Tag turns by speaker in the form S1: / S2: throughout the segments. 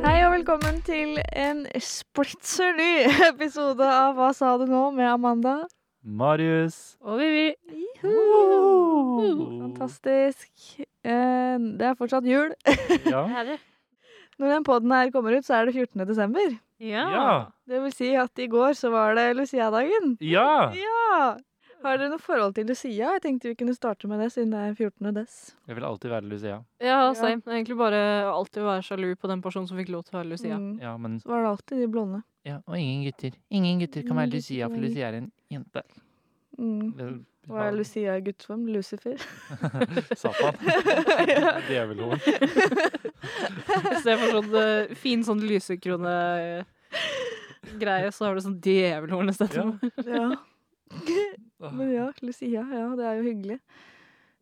S1: Hei og velkommen til en splitter ny episode av Hva sa du nå? med Amanda.
S2: Marius.
S3: Og Vivi.
S1: Fantastisk. Eh, Det er fortsatt jul.
S2: Ja.
S3: Er det?
S1: Når den podden her kommer ut, så er det 14. desember.
S3: Ja.
S2: Ja.
S1: Det vil si at i går så var det Lucia-dagen.
S2: ja!
S1: Ja! Har dere noe forhold til Lucia? Jeg tenkte vi kunne starte med det, siden det er 14. dess.
S2: Jeg vil alltid være Lucia.
S3: Ja, same. Egentlig bare alltid være sjalu på den personen som fikk lov til å være Lucia.
S1: Mm.
S2: Ja, men
S1: Så var det alltid de blonde.
S2: ja, Og ingen gutter. Ingen gutter kan være
S1: Ingen
S2: Lucia,
S1: gutter,
S2: for Lucia er en jente.
S1: Mm.
S2: Det-
S1: Hva er Lucia i gudsform? Lucifer?
S2: Satan. Djevelhorn.
S3: I stedet for sånn eh, fin sånn lysekrone-greie, så har du sånn djevelhorn i stedet.
S2: Ja.
S1: Ja.
S2: Åh.
S1: Men ja, Lucia. Ja, det er jo hyggelig.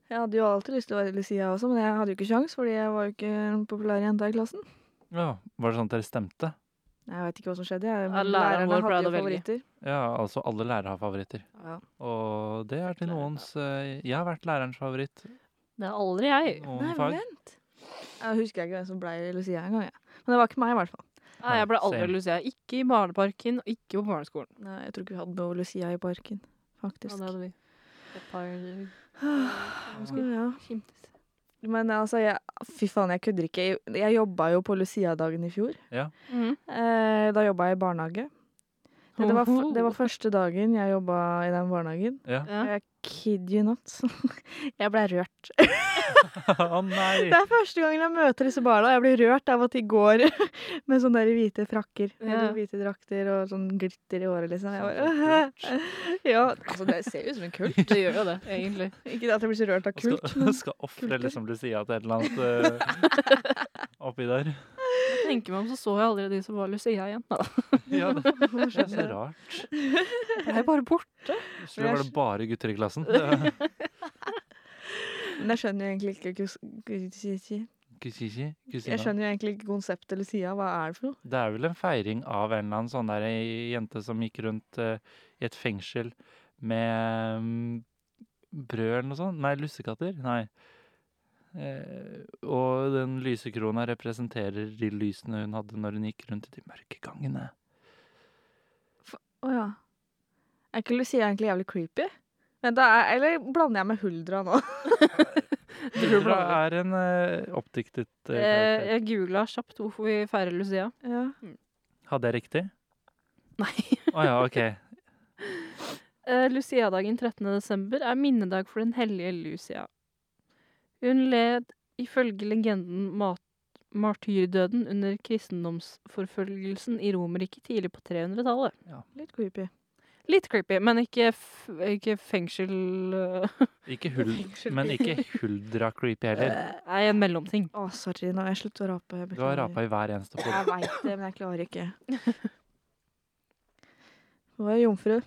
S1: Jeg hadde jo alltid lyst til å være Lucia også, men jeg hadde jo ikke sjans, fordi jeg var jo ikke en populær jente i klassen.
S2: ja. Var det sånn at dere stemte?
S1: Jeg vet ikke hva som skjedde. Jeg,
S3: Ja,
S1: men
S3: læreren
S1: lærerne
S3: vår
S1: hadde jo
S3: pleide å velge.
S1: favoritter.
S2: Ja, altså alle lærere har favoritter.
S1: Ja.
S2: Og det er til
S3: Læreren,
S2: noens eh, Jeg har vært lærerens favoritt.
S3: Det er aldri jeg.
S2: Noen
S1: Nei,
S2: fag.
S1: vent. Jeg husker ikke hvem som ble Lucia engang. jeg. Men det var ikke meg, i hvert fall.
S3: Nei, jeg ble aldri
S2: Same.
S3: Lucia. Ikke i barneparken, og ikke på barneskolen.
S1: Nei, jeg tror ikke vi hadde noe Lucia i parken,
S3: Ja,
S1: faktisk.
S3: det hadde vi. Ah, Et par
S1: Ja, ja.
S3: skimtes.
S1: Men altså, jeg, fy faen, jeg kødder ikke. Jeg- Jeg jobba jo på Lucia-dagen i fjor.
S3: Mhm.
S1: Eh, da jobba jeg i barnehage. Det, det, var, f- det var første dagen jeg jobba i den barnehagen.
S2: Ja.
S3: Ja.
S1: Jeg kid you not. Jeg ble rørt.
S2: Å nei!
S1: Det er første gangen jeg møter disse barna. og Jeg blir rørt av at de går med sånne der hvite frakker.
S3: Ja.
S1: Eller hvite drakter og sånn glitter i håret, liksom. Jeg
S2: Sånn
S1: bare, ja, altså, det ser jo ut som en kult.
S3: Det gjør jo det, egentlig.
S1: Ikke at jeg blir så rørt av kult.
S2: Skal, skal ofre
S1: kulter.
S2: liksom Lucia til et eller annet eh, oppi der.
S3: Jeg tenker meg om, så så jeg aldri de som var Lucia igjen. da.
S2: Ja, det
S1: Hvorfor
S2: det er
S1: skjedde
S2: så
S1: det?
S2: rart.
S3: Jeg er bare borte.
S2: Plutselig var det bare gutter i klassen. Det-
S1: Men jeg skjønner jo egentlig ikke kus- kus-
S2: Kusisi,
S1: Jeg
S2: kusina.
S1: skjønner jo egentlig ikke konseptet Lucia. Hva er det for noe?
S2: Det er vel en feiring av en eller annen sånn der ei jente som gikk rundt eh, i et fengsel med mm, brød eller noe sånt. Nei, lussekatter. Nei. Eh, og den lysekrona representerer de lysene hun hadde når hun gikk rundt i de mørke gangene.
S1: Å ja. Er ikke Lucia egentlig jævlig creepy? Men da er, eller blander jeg med Huldra nå?
S2: Huldra er en eh, oppdiktet eh,
S3: Eh,
S2: karakter.
S3: Jeg googla kjapt hvorfor vi feirer Lucia.
S1: Ja.
S2: Hadde jeg riktig?
S3: Nei.
S2: Å ja, OK.
S3: Eh, Lucia-dagen 13. desember er minnedag for den hellige Lucia. Hun led ifølge legenden mat martyrdøden under kristendomsforfølgelsen i Romerriket tidlig på 300-tallet.
S1: Litt creepy.
S3: Litt creepy, men ikke, f ikke fengsel øh,
S2: Ikke hul, men ikke Huldra-creepy heller.
S3: Nei, en mellomting.
S1: Å, sorry. Nå har jeg sluttet å rape.
S2: Du har
S1: beklager.
S2: rapa i hver eneste podd.
S1: Jeg veit det, men jeg klarer ikke. Hun var jomfru.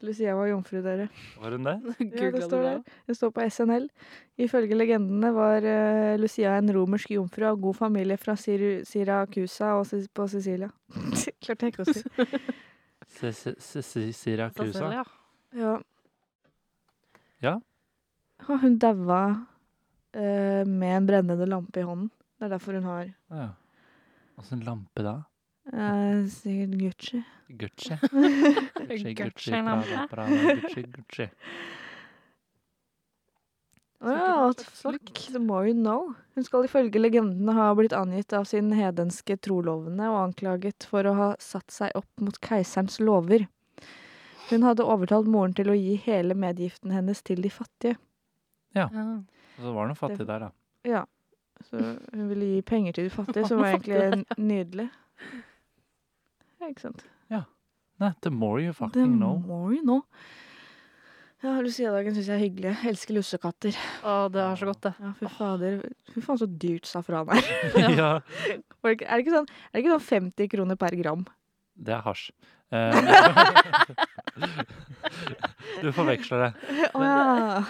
S1: Lucia var jomfru, dere.
S2: Var hun det?
S1: Ja, det
S3: Googlet
S1: står der. Det står på SNL. Ifølge legendene var eh, Lucia en romersk jomfru av god familie fra Sir Siracusa og Sis- på Sicilia. Klarte jeg ikke å si.
S2: Se- se- se- se- Siracusa?
S3: Cecilia.
S1: Ja.
S2: Ja.
S1: Og Hun daua eh, med en brennende lampe i hånden. Det er derfor hun har
S2: Ja. Åssen lampe da?
S1: eh, sikkert Gucci.
S2: Gucci. Gucci, Gucci, Prada,
S3: Gucci-lampe.
S2: Prada, Gucci, Gucci.
S1: Å ja, what the fuck, the more you know. Hun skal ifølge legendene ha blitt angitt av sin hedenske trolovende og anklaget for å ha satt seg opp mot keiserens lover. Hun hadde overtalt moren til å gi hele medgiften hennes til de fattige.
S3: Ja.
S2: Og Så var det noe fattig der, da.
S1: Så hun ville gi penger til de fattige, som var egentlig n- nydelig. Ja, ikke sant?
S2: Nei, the more you
S1: The
S2: fucking know.
S1: more you know. Ja, Lucia-dagen syns jeg er hyggelig. Jeg elsker lussekatter.
S3: Å, det er så godt, det.
S1: Ja, fy fader. Fy faen, så dyrt safran er.
S2: ja,
S1: Var det ikke- Er det ikke sånn, er det ikke sånn 50 kroner per gram?
S2: det er hasj. Eh, Du forveksler det.
S1: Å ja.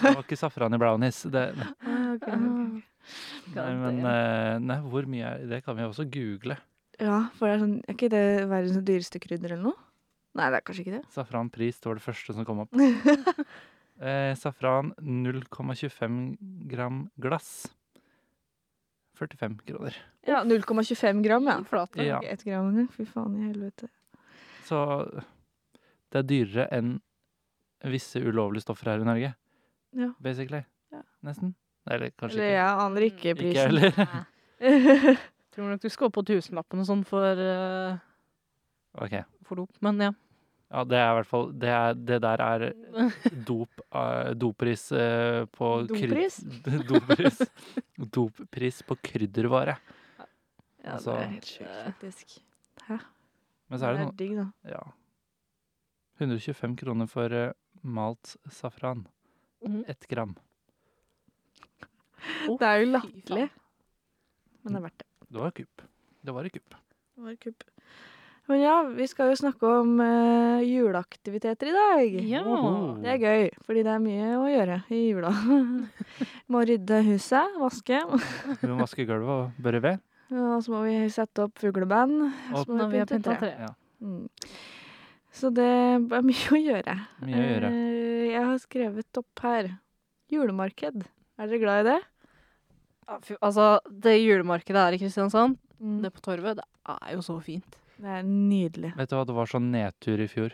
S2: Det var ikke safran i brownies. Det, nei,
S1: Ah, ok, ok, ok.
S2: men eh, nei, hvor mye er det? kan vi også google.
S1: Ja, for det er sånn Er ikke det verdens dyreste krydder eller noe? Nei, det er kanskje ikke det.
S2: Safranpris det var det første som kom opp. Eh, safran 0,25 gram glass. 45 kroner.
S1: Ja, 0,25 gram, ja.
S3: Flate.
S2: Ja.
S1: Ikke ett gram engang. Fy faen i helvete.
S2: Så det er dyrere enn visse ulovlige stoffer her i Norge.
S1: Ja.
S2: Basically.
S1: Ja.
S2: Nesten. Eller kanskje
S1: Eller jeg aner ikke
S2: ikke. Ikke jeg
S1: prisen.
S2: heller.
S3: Tror nok du skal opp på tusenlappen og sånn for, eh,
S2: Ok.
S3: for dop, men ja.
S2: Ja, det er i hvert fall Det, er, det der er dop, eh, doppris eh, på
S1: Dompris?
S2: kryd- doppris. Doppris på kryddervare.
S1: Ja, det
S2: Altså-
S1: er helt sjukt, faktisk. Hæ?
S2: Men så er det
S1: det
S2: noe
S1: er digg, da.
S2: Ja. 125 kroner for eh, malt safran.
S3: Mhm.
S2: Ett gram.
S1: Det er jo latterlig. Men det er verdt det.
S2: Det var kupp. Det var et kupp.
S1: Det var kupp. Men ja, vi skal jo snakke om eh, juleaktiviteter i dag.
S3: Ja.
S2: Oho.
S1: Det er gøy, fordi det er mye å gjøre i jula. må rydde huset, vaske,
S2: Vi må vaske gulvet og børre ved.
S1: og så må vi sette opp fugleband. og så må
S3: Når vi har
S1: tre.
S3: pynta tre.
S2: Ja,
S1: Mm. Så det er mye å gjøre.
S2: mye å gjøre.
S1: Eh, Jeg har skrevet opp her. Julemarked. Er dere glad i det?
S3: Ja, fy- Altså, det julemarkedet her i Kristiansand,
S1: Mm.
S3: det på Torvet, det er jo så fint.
S1: Det er nydelig.
S2: Vet du hva, det var sånn nedtur i fjor.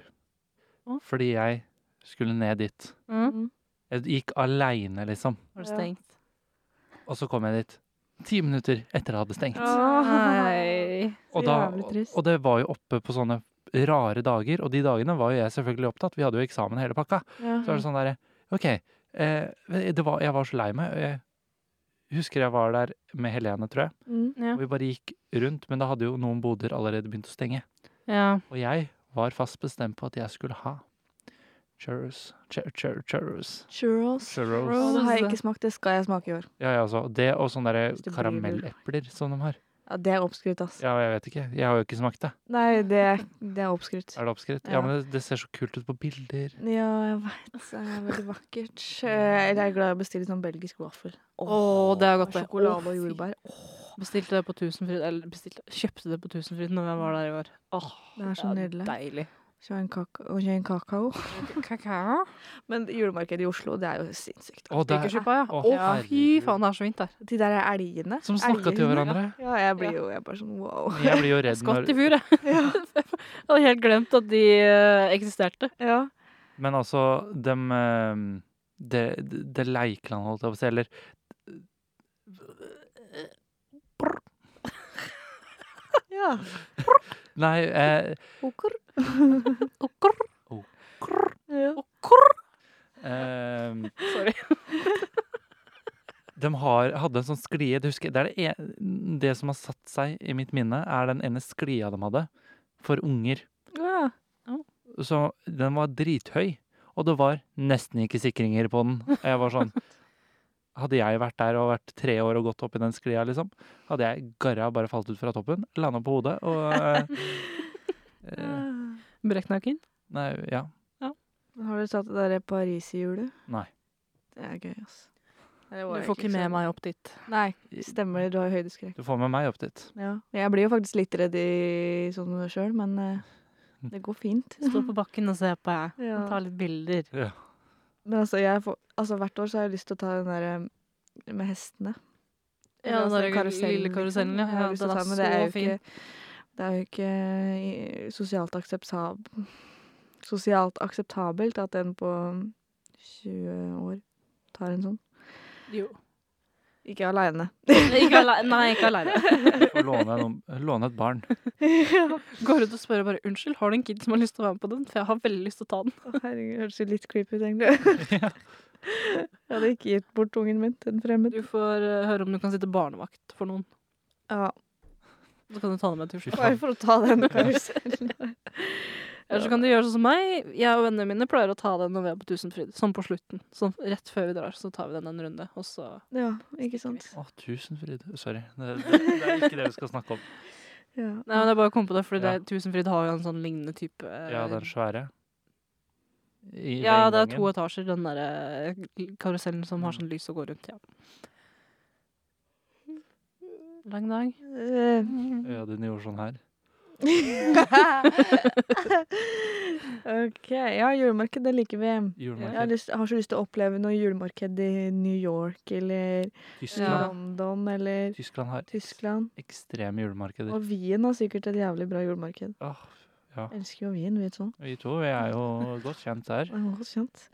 S3: Å?
S2: Fordi jeg skulle ned dit.
S3: Mm.
S2: Jeg gikk aleine, liksom.
S3: Var det
S1: Ja.
S3: stengt?
S2: Og så kom jeg dit. Ti minutter etter jeg hadde stengt.
S3: Nei.
S1: så
S2: Og, da,
S1: jævlig trist.
S2: og det var jo oppe på sånne rare dager, og de dagene var jo jeg selvfølgelig opptatt. Vi hadde jo eksamen hele pakka.
S1: Ja.
S2: Så var det sånn derre OK. Eh, det var, jeg var så lei meg. Jeg husker jeg var der med Helene, tror jeg.
S1: Mm.
S3: Ja.
S2: Og vi bare gikk rundt, men da hadde jo noen boder allerede begynt å stenge.
S3: Ja.
S2: Og jeg var fast bestemt på at jeg skulle ha churros. Chur, chur, churros.
S1: Churros.
S2: Churros.
S1: Å, Det har jeg ikke smakt, det skal jeg smake i år.
S2: Ja, ja, altså. Det og sånne der
S1: Hvis det blir
S2: karamellepler som de har.
S1: Ja, Det er oppskrytt, ass.
S2: Ja, jeg vet ikke. Jeg har jo ikke smakt det.
S1: Nei, det er, det er oppskrytt.
S2: Er det oppskrytt? Ja,
S1: Ja.
S2: men det, det ser så kult ut på bilder.
S1: Ja, jeg veit. Det er veldig vakkert. Eh, Jeg er glad i å bestille sånn belgisk vaffel.
S3: Å, det er godt, det.
S1: Sjokolade
S3: Å,
S1: og
S3: fy.
S1: jordbær.
S3: Bestilte det på Tusenfryd, eller bestilte, kjøpte det på Tusenfryd når jeg var der i år. Åh,
S1: Det er så nydelig.
S3: Deilig.
S1: Kjø en kaka- og kjø en kakao.
S3: Kakao.
S1: Men julemarkedet i Oslo, det er jo sinnssykt.
S2: Å, det er,
S3: Sykkelskippa, ja.
S2: Å,
S3: Å, fy
S2: herregud.
S3: faen, det er så fint der.
S1: De der er elgene.
S2: som snakka til
S1: Elghunder.
S2: hverandre.
S1: Ja, jeg blir jo jeg er bare sånn wow.
S2: Jeg blir jo redd
S3: Skvatt i
S2: når
S3: fjor, jeg. jeg hadde helt glemt at de eh, eksisterte.
S1: Ja.
S2: Men altså, dem eh, Det det leikland, holdt jeg på å si, eller
S1: ja.
S2: Nei, eh,
S1: Oker.
S3: Og krr,
S1: Ja.
S3: og krr.
S2: eh
S3: Sorry.
S2: De har, hadde en sånn sklie det, husker, jeg- det, er det, en, det som har satt seg i mitt minne, er den ene sklia de hadde for unger.
S1: ja.
S2: Så den var drithøy, og det var nesten ikke sikringer på den. Og Jeg var sånn Hadde jeg vært der og vært tre år og gått opp i den sklia, liksom, hadde jeg garra bare falt ut fra toppen, landa på hodet og eh, eh,
S3: Brekknaken.
S2: Nei, ja.
S1: Har du tatt det der Paris-hjulet?
S2: Nei.
S1: Det er gøy, ass.
S3: Du får ikke med meg opp dit.
S1: Nei, stemmer. Du har jo høydeskrekk.
S2: Du får med meg opp dit.
S1: Ja. Jeg blir jo faktisk litt redd i sånn sjøl, men eh,
S2: Mm.
S1: det går fint.
S3: Stå på bakken og se på, jeg.
S1: Ja.
S3: Ta litt bilder.
S1: Men altså, jeg får, altså, hvert år så har jeg lyst til å ta den der eh, med hestene.
S3: Ja, den
S1: Altså,
S3: der lille
S1: liksom.
S3: karusellen, ja.
S1: Jeg har
S3: Ja,
S1: lyst til å
S3: den
S1: ta
S3: er
S1: den, men det er
S3: så
S1: jo ikke- Det er jo ikke eh, sosialt akseptabelt, sosialt akseptabelt at en på 20 år tar en sånn.
S3: Jo.
S1: Ikke aleine.
S3: Ikke alei- Nei, ikke aleine.
S2: Og låne, noen- låne et barn.
S3: Går ut og spør bare 'Unnskyld, har du en kid som har lyst til å være med på den?' For jeg har veldig lyst til å ta den.
S1: Herregud, det hørtes jo litt creepy ut, egentlig. Jeg hadde ikke gitt bort ungen min til en fremmed.
S3: Du får eh, høre om du kan sitte barnevakt for noen.
S1: Ja,
S3: Så kan du ta den med til Oslo.
S1: bare for å ta den karusellen.
S3: Eller så kan du gjøre sånn som meg. Jeg og vennene mine pleier å ta den når vi er på Tusenfryd. Sånn på slutten. Sånn rett før vi drar, så tar vi den en runde, og så
S1: Ja, ikke sant.
S2: Å, Tusenfryd. Sorry. Det, det, det er ikke det vi skal snakke om.
S1: Ja.
S3: Nei, men jeg bare kom på det, fordi
S2: Ja.
S3: det, Tusenfryd har jo en sånn lignende type eh,
S2: Ja, den svære. i ved
S3: Ja, det er
S2: inngangen.
S3: to etasjer, den derre karusellen som
S2: Mm.
S3: har sånn lys og går rundt, ja. Lang dag.
S1: Eh,
S2: Ja, den gjorde sånn her.
S1: OK. Ja, julemarked, det liker vi. Jeg har,
S2: Julemarked.
S1: lyst, jeg har så lyst til å oppleve noe julemarked i New York eller
S2: Tyskland.
S3: Ja.
S1: London eller
S2: Tyskland har
S1: Tyskland.
S2: ekstreme julemarkeder.
S1: Og Wien har sikkert et jævlig bra julemarked.
S2: Åh, ja.
S1: Jeg elsker jo Wien, vi sånn.
S2: Vi to vi er jo godt kjent her
S1: Det var godt kjent.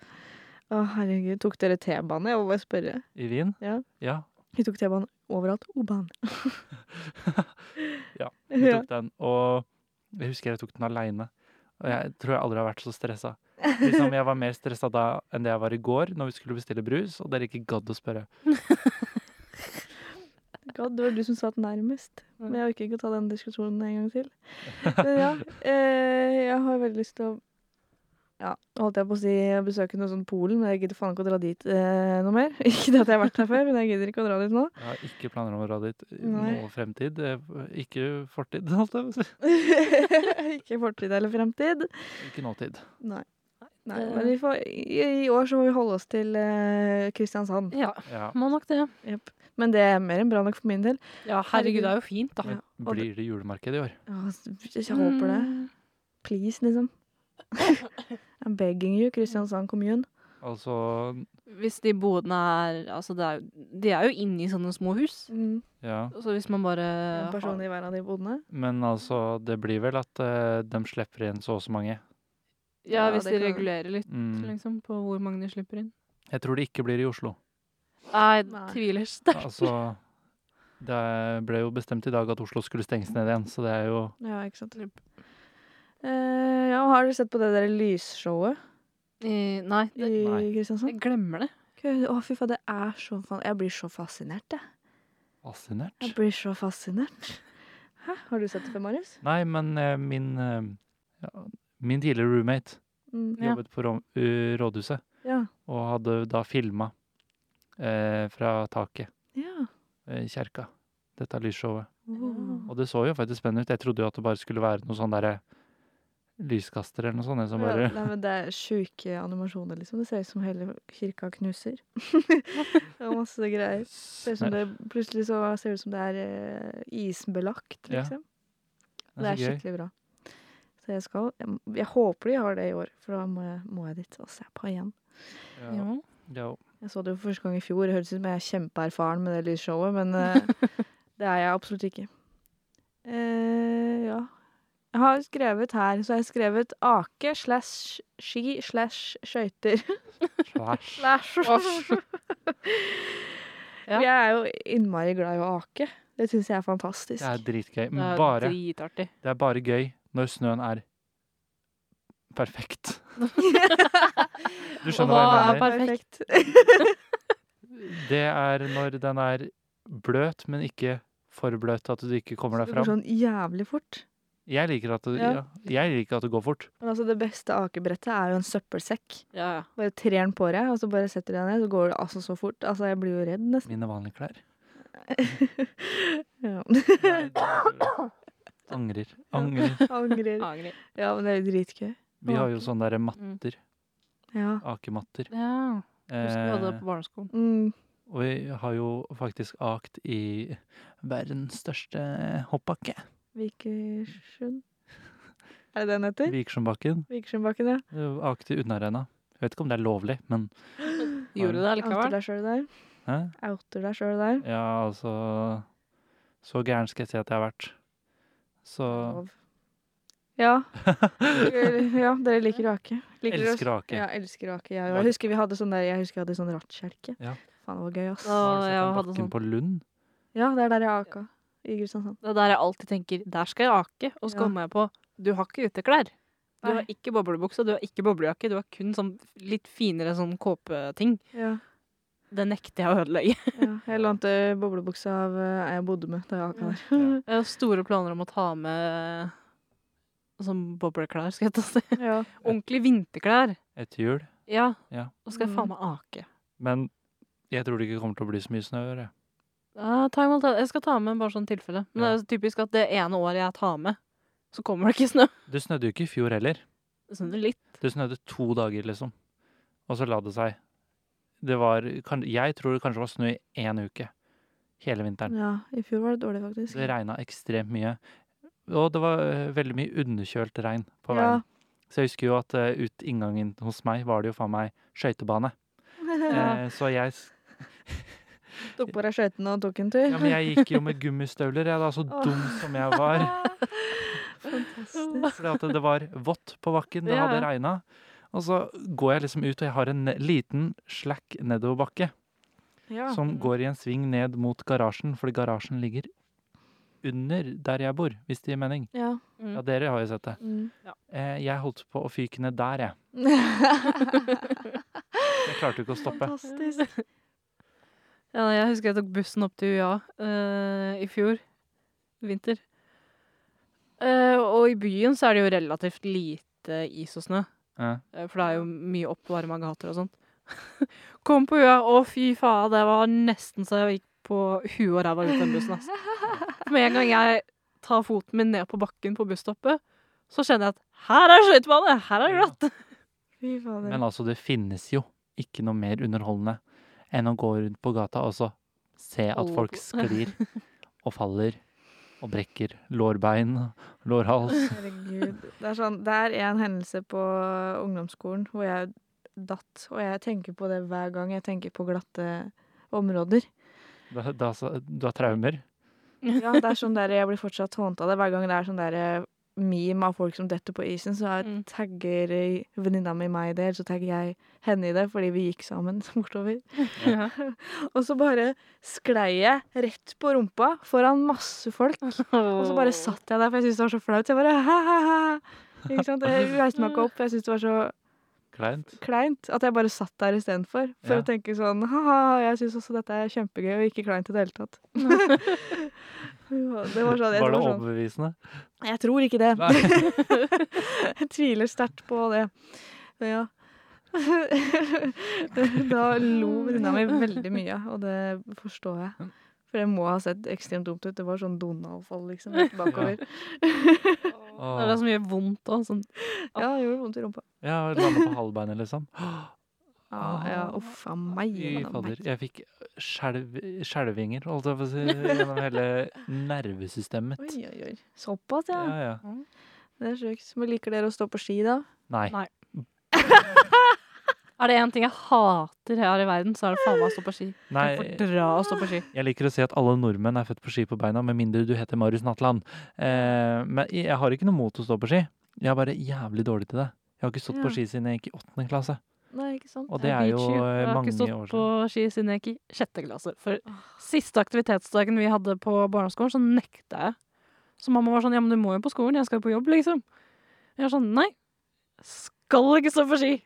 S1: Å, herregud. Tok dere T-bane? Jeg må bare spørre.
S2: i Wien.
S1: Ja.
S2: ja.
S1: Vi tok T-banen overalt. O-banen.
S2: Ja, Vi
S1: ja.
S2: tok den, og jeg husker jeg tok den aleine. Og jeg tror jeg aldri har vært så stressa. Liksom, jeg var mer stressa da enn det jeg var i går, når vi skulle bestille brus, og dere ikke gadd å spørre.
S1: God, det var du som satt nærmest. Men jeg orker ikke å ta den diskusjonen en gang til. Men ja, eh, jeg har veldig lyst til å Ja, holdt jeg på å si besøke noe sånn Polen, men jeg gidder faen ikke å dra dit eh, noe mer. Ikke det at jeg har vært her før, men jeg gidder ikke å dra dit nå.
S2: Jeg har ikke planer om å dra dit i
S1: Nei.
S2: nå fremtid. eh, Ikke fortid, holdt jeg på å si.
S1: ikke fortid eller fremtid.
S2: Ikke nåtid.
S1: Nei. Nei men vi får, i, i år så må vi holde oss til eh, Kristiansand.
S3: Ja,
S2: Ja.
S3: må nok det.
S1: Jep. Men det er mer enn bra nok for min del.
S3: Ja, herregud, Mm. det er jo fint, da.
S1: Ja. og
S2: Blir det julemarked i år?
S1: Ja, Jeg håper det.
S3: Mm.
S1: Please, liksom. I'm begging you, Kristiansand kommune.
S2: Altså
S3: Hvis de bodene er Altså, det er, jo- de er jo inne i sånne små hus.
S1: Mm.
S2: Ja.
S3: Så hvis man bare
S1: En person i hver av de bodene.
S2: Men altså, det blir vel at eh, de slipper inn så og så mange.
S3: Ja,
S1: Ja,
S3: hvis
S1: det
S3: de
S1: kan-
S3: regulerer litt,
S2: Mm.
S3: liksom, på hvor mange de slipper inn.
S2: Jeg tror det ikke blir i Oslo.
S3: Nei,
S1: Nei.
S3: tviler sterkt.
S2: Altså, det ble jo bestemt i dag at Oslo skulle stenges ned igjen, så det er jo
S1: Ja, ikke sant.
S3: Jep.
S1: Eh, ja, og har dere sett på det der lysshowet
S3: Eh, Nei, det,
S1: i
S2: Nei.
S1: Kristiansand?
S3: jeg glemmer det.
S1: Gud, Å, fy faen, det er så faen Jeg blir så fascinert, jeg.
S2: fascinert.
S1: Jeg blir så fascinert. Hæ? Har du sett det før, Marius?
S2: Nei, men eh, min, eh, ja, min tidligere roommate
S1: Mm.
S3: Ja.
S2: jobbet på rom, ø, rådhuset
S1: Ja.
S2: og hadde da filma eh, fra taket
S1: ja.
S2: eh, i kjerka, dette lysshowet.
S1: Oh.
S2: Og det så jo faktisk spennende ut. Jeg trodde jo at det bare skulle være noe sånn derre lyskaster eller noe sånt. jeg, Som
S1: Ja,
S2: bare,
S1: nei, men det er sjuke animasjoner, liksom. Det ser ut som hele kirka knuser. det er masse greier. Ser ut som det, plutselig så ser det ut som det er eh, isbelagt,
S2: Ja,
S1: liksom.
S2: Det
S1: det
S2: er
S1: er
S2: så gøy.
S1: skikkelig bra. Så jeg skal Jeg, jeg håper de har det i år, for da må jeg, må jeg dit og se på igjen.
S2: Ja.
S3: Ja.
S2: Ja.
S1: Jeg så det jo første gang i fjor. Det høres ut som jeg er kjempeerfaren med det lysshowet, men eh, det er jeg absolutt ikke. Eh, ja. Jeg har skrevet her, så jeg har skrevet ake slash ski slash skøyter.
S2: Slash.
S3: Ja.
S1: Jeg er jo innmari glad i å ake. Det syns jeg er fantastisk.
S2: Det er dritgøy.
S3: Det er
S2: Men bare,
S3: dritartig.
S2: det er bare gøy når snøen er perfekt. Du skjønner hva
S3: hva
S2: jeg
S3: er
S2: mener?
S3: perfekt.
S2: Det er når den er bløt, men ikke for bløt at du ikke kommer
S1: Så
S2: deg
S1: det går
S2: fram.
S1: sånn jævlig fort.
S2: Jeg liker at det, ja.
S1: Ja.
S2: jeg liker at det går fort.
S1: Men altså, det beste akebrettet er jo en søppelsekk.
S3: Ja, ja.
S1: Bare trer den på deg, og så bare setter du deg ned, så går det altså så fort. Altså, jeg blir jo redd nesten.
S2: Mine vanlige klær.
S1: Ja.
S2: Angrer. Angrer.
S1: Angrer.
S3: Angrer. Mm.
S1: Ja, men det er jo dritgøy.
S2: Vi har jo sånne der matter.
S1: Ja.
S2: Akematter.
S3: Ja. Husker vi hadde det
S2: Eh,
S3: på barneskolen.
S1: Mm.
S2: og vi har jo faktisk akt i verdens største hoppbakke.
S1: Vikersund Er det den heter?
S2: Vikersundbakken.
S1: Vikersundbakken, ja.
S2: Eh, Akt i Unnarena. Jeg vet ikke om det er lovlig, men
S3: Gjorde du det
S1: Outer
S3: likevel?
S1: deg sjøl der.
S2: hæ?
S1: Outer deg sjøl der.
S2: Ja, altså Så gæren skal jeg si at jeg har vært. Så
S1: Lov. Ja. ja, dere liker å ake. Liker dere å-
S2: elsker å ake.
S1: Ja, elsker å ake. Jeg, jeg husker vi hadde sånn der, jeg husker jeg hadde sånn rattkjelke.
S2: Ja.
S1: Faen, det var gøy, ass.
S3: Ja.
S2: Har du sett
S3: jeg
S2: den
S3: hadde
S2: bakken
S3: sånn.
S2: på Lund?
S1: Ja, det er der jeg aka. I Kristiansand.
S3: Det er der jeg alltid tenker Der skal jeg ake. Og så
S1: Ja.
S3: kommer jeg på Du har ikke uteklær. Du
S1: Nei.
S3: har ikke boblebukse, du har ikke boblejakke. Du har kun sånn litt finere sånn kåpeting.
S1: Ja.
S3: Det nekter jeg å ødelegge.
S1: ja. Jeg lånte boblebuksa av eh, ei jeg bodde med da jeg aka der.
S3: Jeg har store planer om å ta med sånn bobleklær, skal jeg ta og si.
S1: Ja.
S3: Ordentlige vinterklær.
S2: Et hjul.
S3: Ja.
S2: Ja.
S3: Og skal jeg
S1: Mm.
S3: faen meg ake.
S2: Men jeg tror det ikke kommer til å bli så mye snø. i år, jeg.
S3: Ja, ta imot det. Jeg skal ta med bare sånn tilfelle. Men det er jo typisk at det ene året jeg tar med, så kommer det ikke snø.
S2: Det snødde jo ikke i fjor heller.
S3: Sånn litt.
S2: Det snødde to dager, liksom. Og så la det seg. Det var kan, Jeg tror det kanskje var snø i én uke. Hele vinteren.
S1: Ja, i fjor var det dårlig, faktisk.
S2: Det regna ekstremt mye. Og det var eh, veldig mye underkjølt regn
S1: Ja.
S2: på veien. Så jeg husker jo at eh, ut inngangen hos meg var det jo faen meg skøytebane. Eh, så jeg, s-
S1: Tok på deg skøytene og tok en tur.
S2: ja, men jeg gikk jo med gummistøvler, jeg da. Så
S1: Åh.
S2: dum som jeg var.
S1: Fantastisk.
S2: Fordi at det var vått på bakken, det
S3: Ja.
S2: hadde regna. Og så går jeg liksom ut, og jeg har en ne- liten slack nedoverbakke.
S1: Ja.
S2: som går i en sving ned mot garasjen, fordi garasjen ligger under der jeg bor, hvis det gir mening.
S1: Ja.
S2: Ja, dere har jo sett det.
S1: Mm.
S2: Eh, jeg holdt på å fyke ned der, jeg. Jeg klarte jo ikke å stoppe.
S1: Fantastisk.
S3: Ja, nei, jeg husker jeg tok bussen opp til UiA eh, i fjor vinter. Eh, og i byen så er det jo relativt lite is og snø.
S2: Ja.
S3: eh, For det er jo mye oppvarma gater og sånt. Kom på UiA, å fy faen, det var nesten så jeg gikk på huet og ræva ut av den bussen. Altså. For Med en gang jeg tar foten min ned på bakken på busstoppet, så kjenner jeg at her er skøytebane! Her er det glatt!
S1: Fy fader.
S2: Men altså, det finnes jo ikke noe mer underholdende enn å gå rundt på gata og så se at
S3: Holde
S2: folk
S3: på.
S2: sklir og faller og brekker lårbein, lårhals.
S1: Herregud. Det er sånn, det er en hendelse på ungdomsskolen hvor jeg datt, og jeg tenker på det hver gang jeg tenker på glatte områder.
S2: Da, da, så- du har traumer.
S1: Ja, det er sånn der, Jeg blir fortsatt hånt av det hver gang det er sånn der eh, meme av folk som detter på isen. Så jeg
S3: Mm.
S1: tagger eh, venninna mi meg i det, eller så tagger jeg henne i det fordi vi gikk sammen bortover.
S3: Ja.
S1: Og så bare sklei jeg rett på rumpa foran masse folk. Og så bare satt jeg der, for jeg syntes det var så flaut. Så jeg bare ha-ha-ha. Ikke sant? Jeg reiste meg ikke opp. for Jeg syntes det var så
S2: Kleint.
S1: kleint at jeg bare satt der istedenfor. For
S2: Ja.
S1: å tenke sånn ha-ha, jeg syns også dette er kjempegøy, og ikke kleint i det hele tatt. Ja, det var sånn, jeg,
S2: Var det
S1: tror sånn.
S2: overbevisende?
S1: jeg tror ikke det.
S2: Nei.
S1: Jeg tviler sterkt på det. Men Ja. da lo venninna mi veldig mye, og det forstår jeg. For det må ha sett ekstremt dumt ut. Det var sånn Donald-fall, liksom. rett Bakover.
S3: Det er så mye vondt og sånn.
S1: Ja, det gjorde vondt i rumpa.
S2: Ja, lande på halvbeinet, liksom.
S1: Ja, ja. Uff a meg.
S2: Fy
S1: a meg.
S2: fader. Jeg fikk skjelv- skjelvinger, holdt jeg på å si, gjennom hele nervesystemet mitt.
S1: Oi, oi, oi. Såpass, ja.
S2: Ja, ja.
S1: Det er sjukt. Men liker dere å stå på ski, da?
S2: Nei.
S3: Nei. Er det én ting jeg hater her i verden, så er det faen meg å stå på ski.
S2: Nei,
S3: Jeg fordra å stå på ski.
S2: jeg liker å si at alle nordmenn er født på ski på beina, med mindre du heter Marius Natland. Eh, men jeg har ikke noe mot å stå på ski. Jeg er bare jævlig dårlig til det. Jeg har ikke stått
S1: Ja.
S2: på ski siden jeg gikk i åttende klasse.
S1: Nei, ikke sant?
S2: Og det er
S3: Jeg
S2: jo
S3: beach
S2: eh,
S3: ski.
S2: mange
S3: Jeg har
S2: år
S3: ikke stått på
S2: siden.
S3: ski siden jeg gikk i sjette klasse. For siste aktivitetsdagen vi hadde på barneskolen, så nekta jeg. Så mamma var sånn, ja, men du må jo på skolen, jeg skal jo på jobb, liksom. Jeg var sånn, nei, skal ikke stå på ski.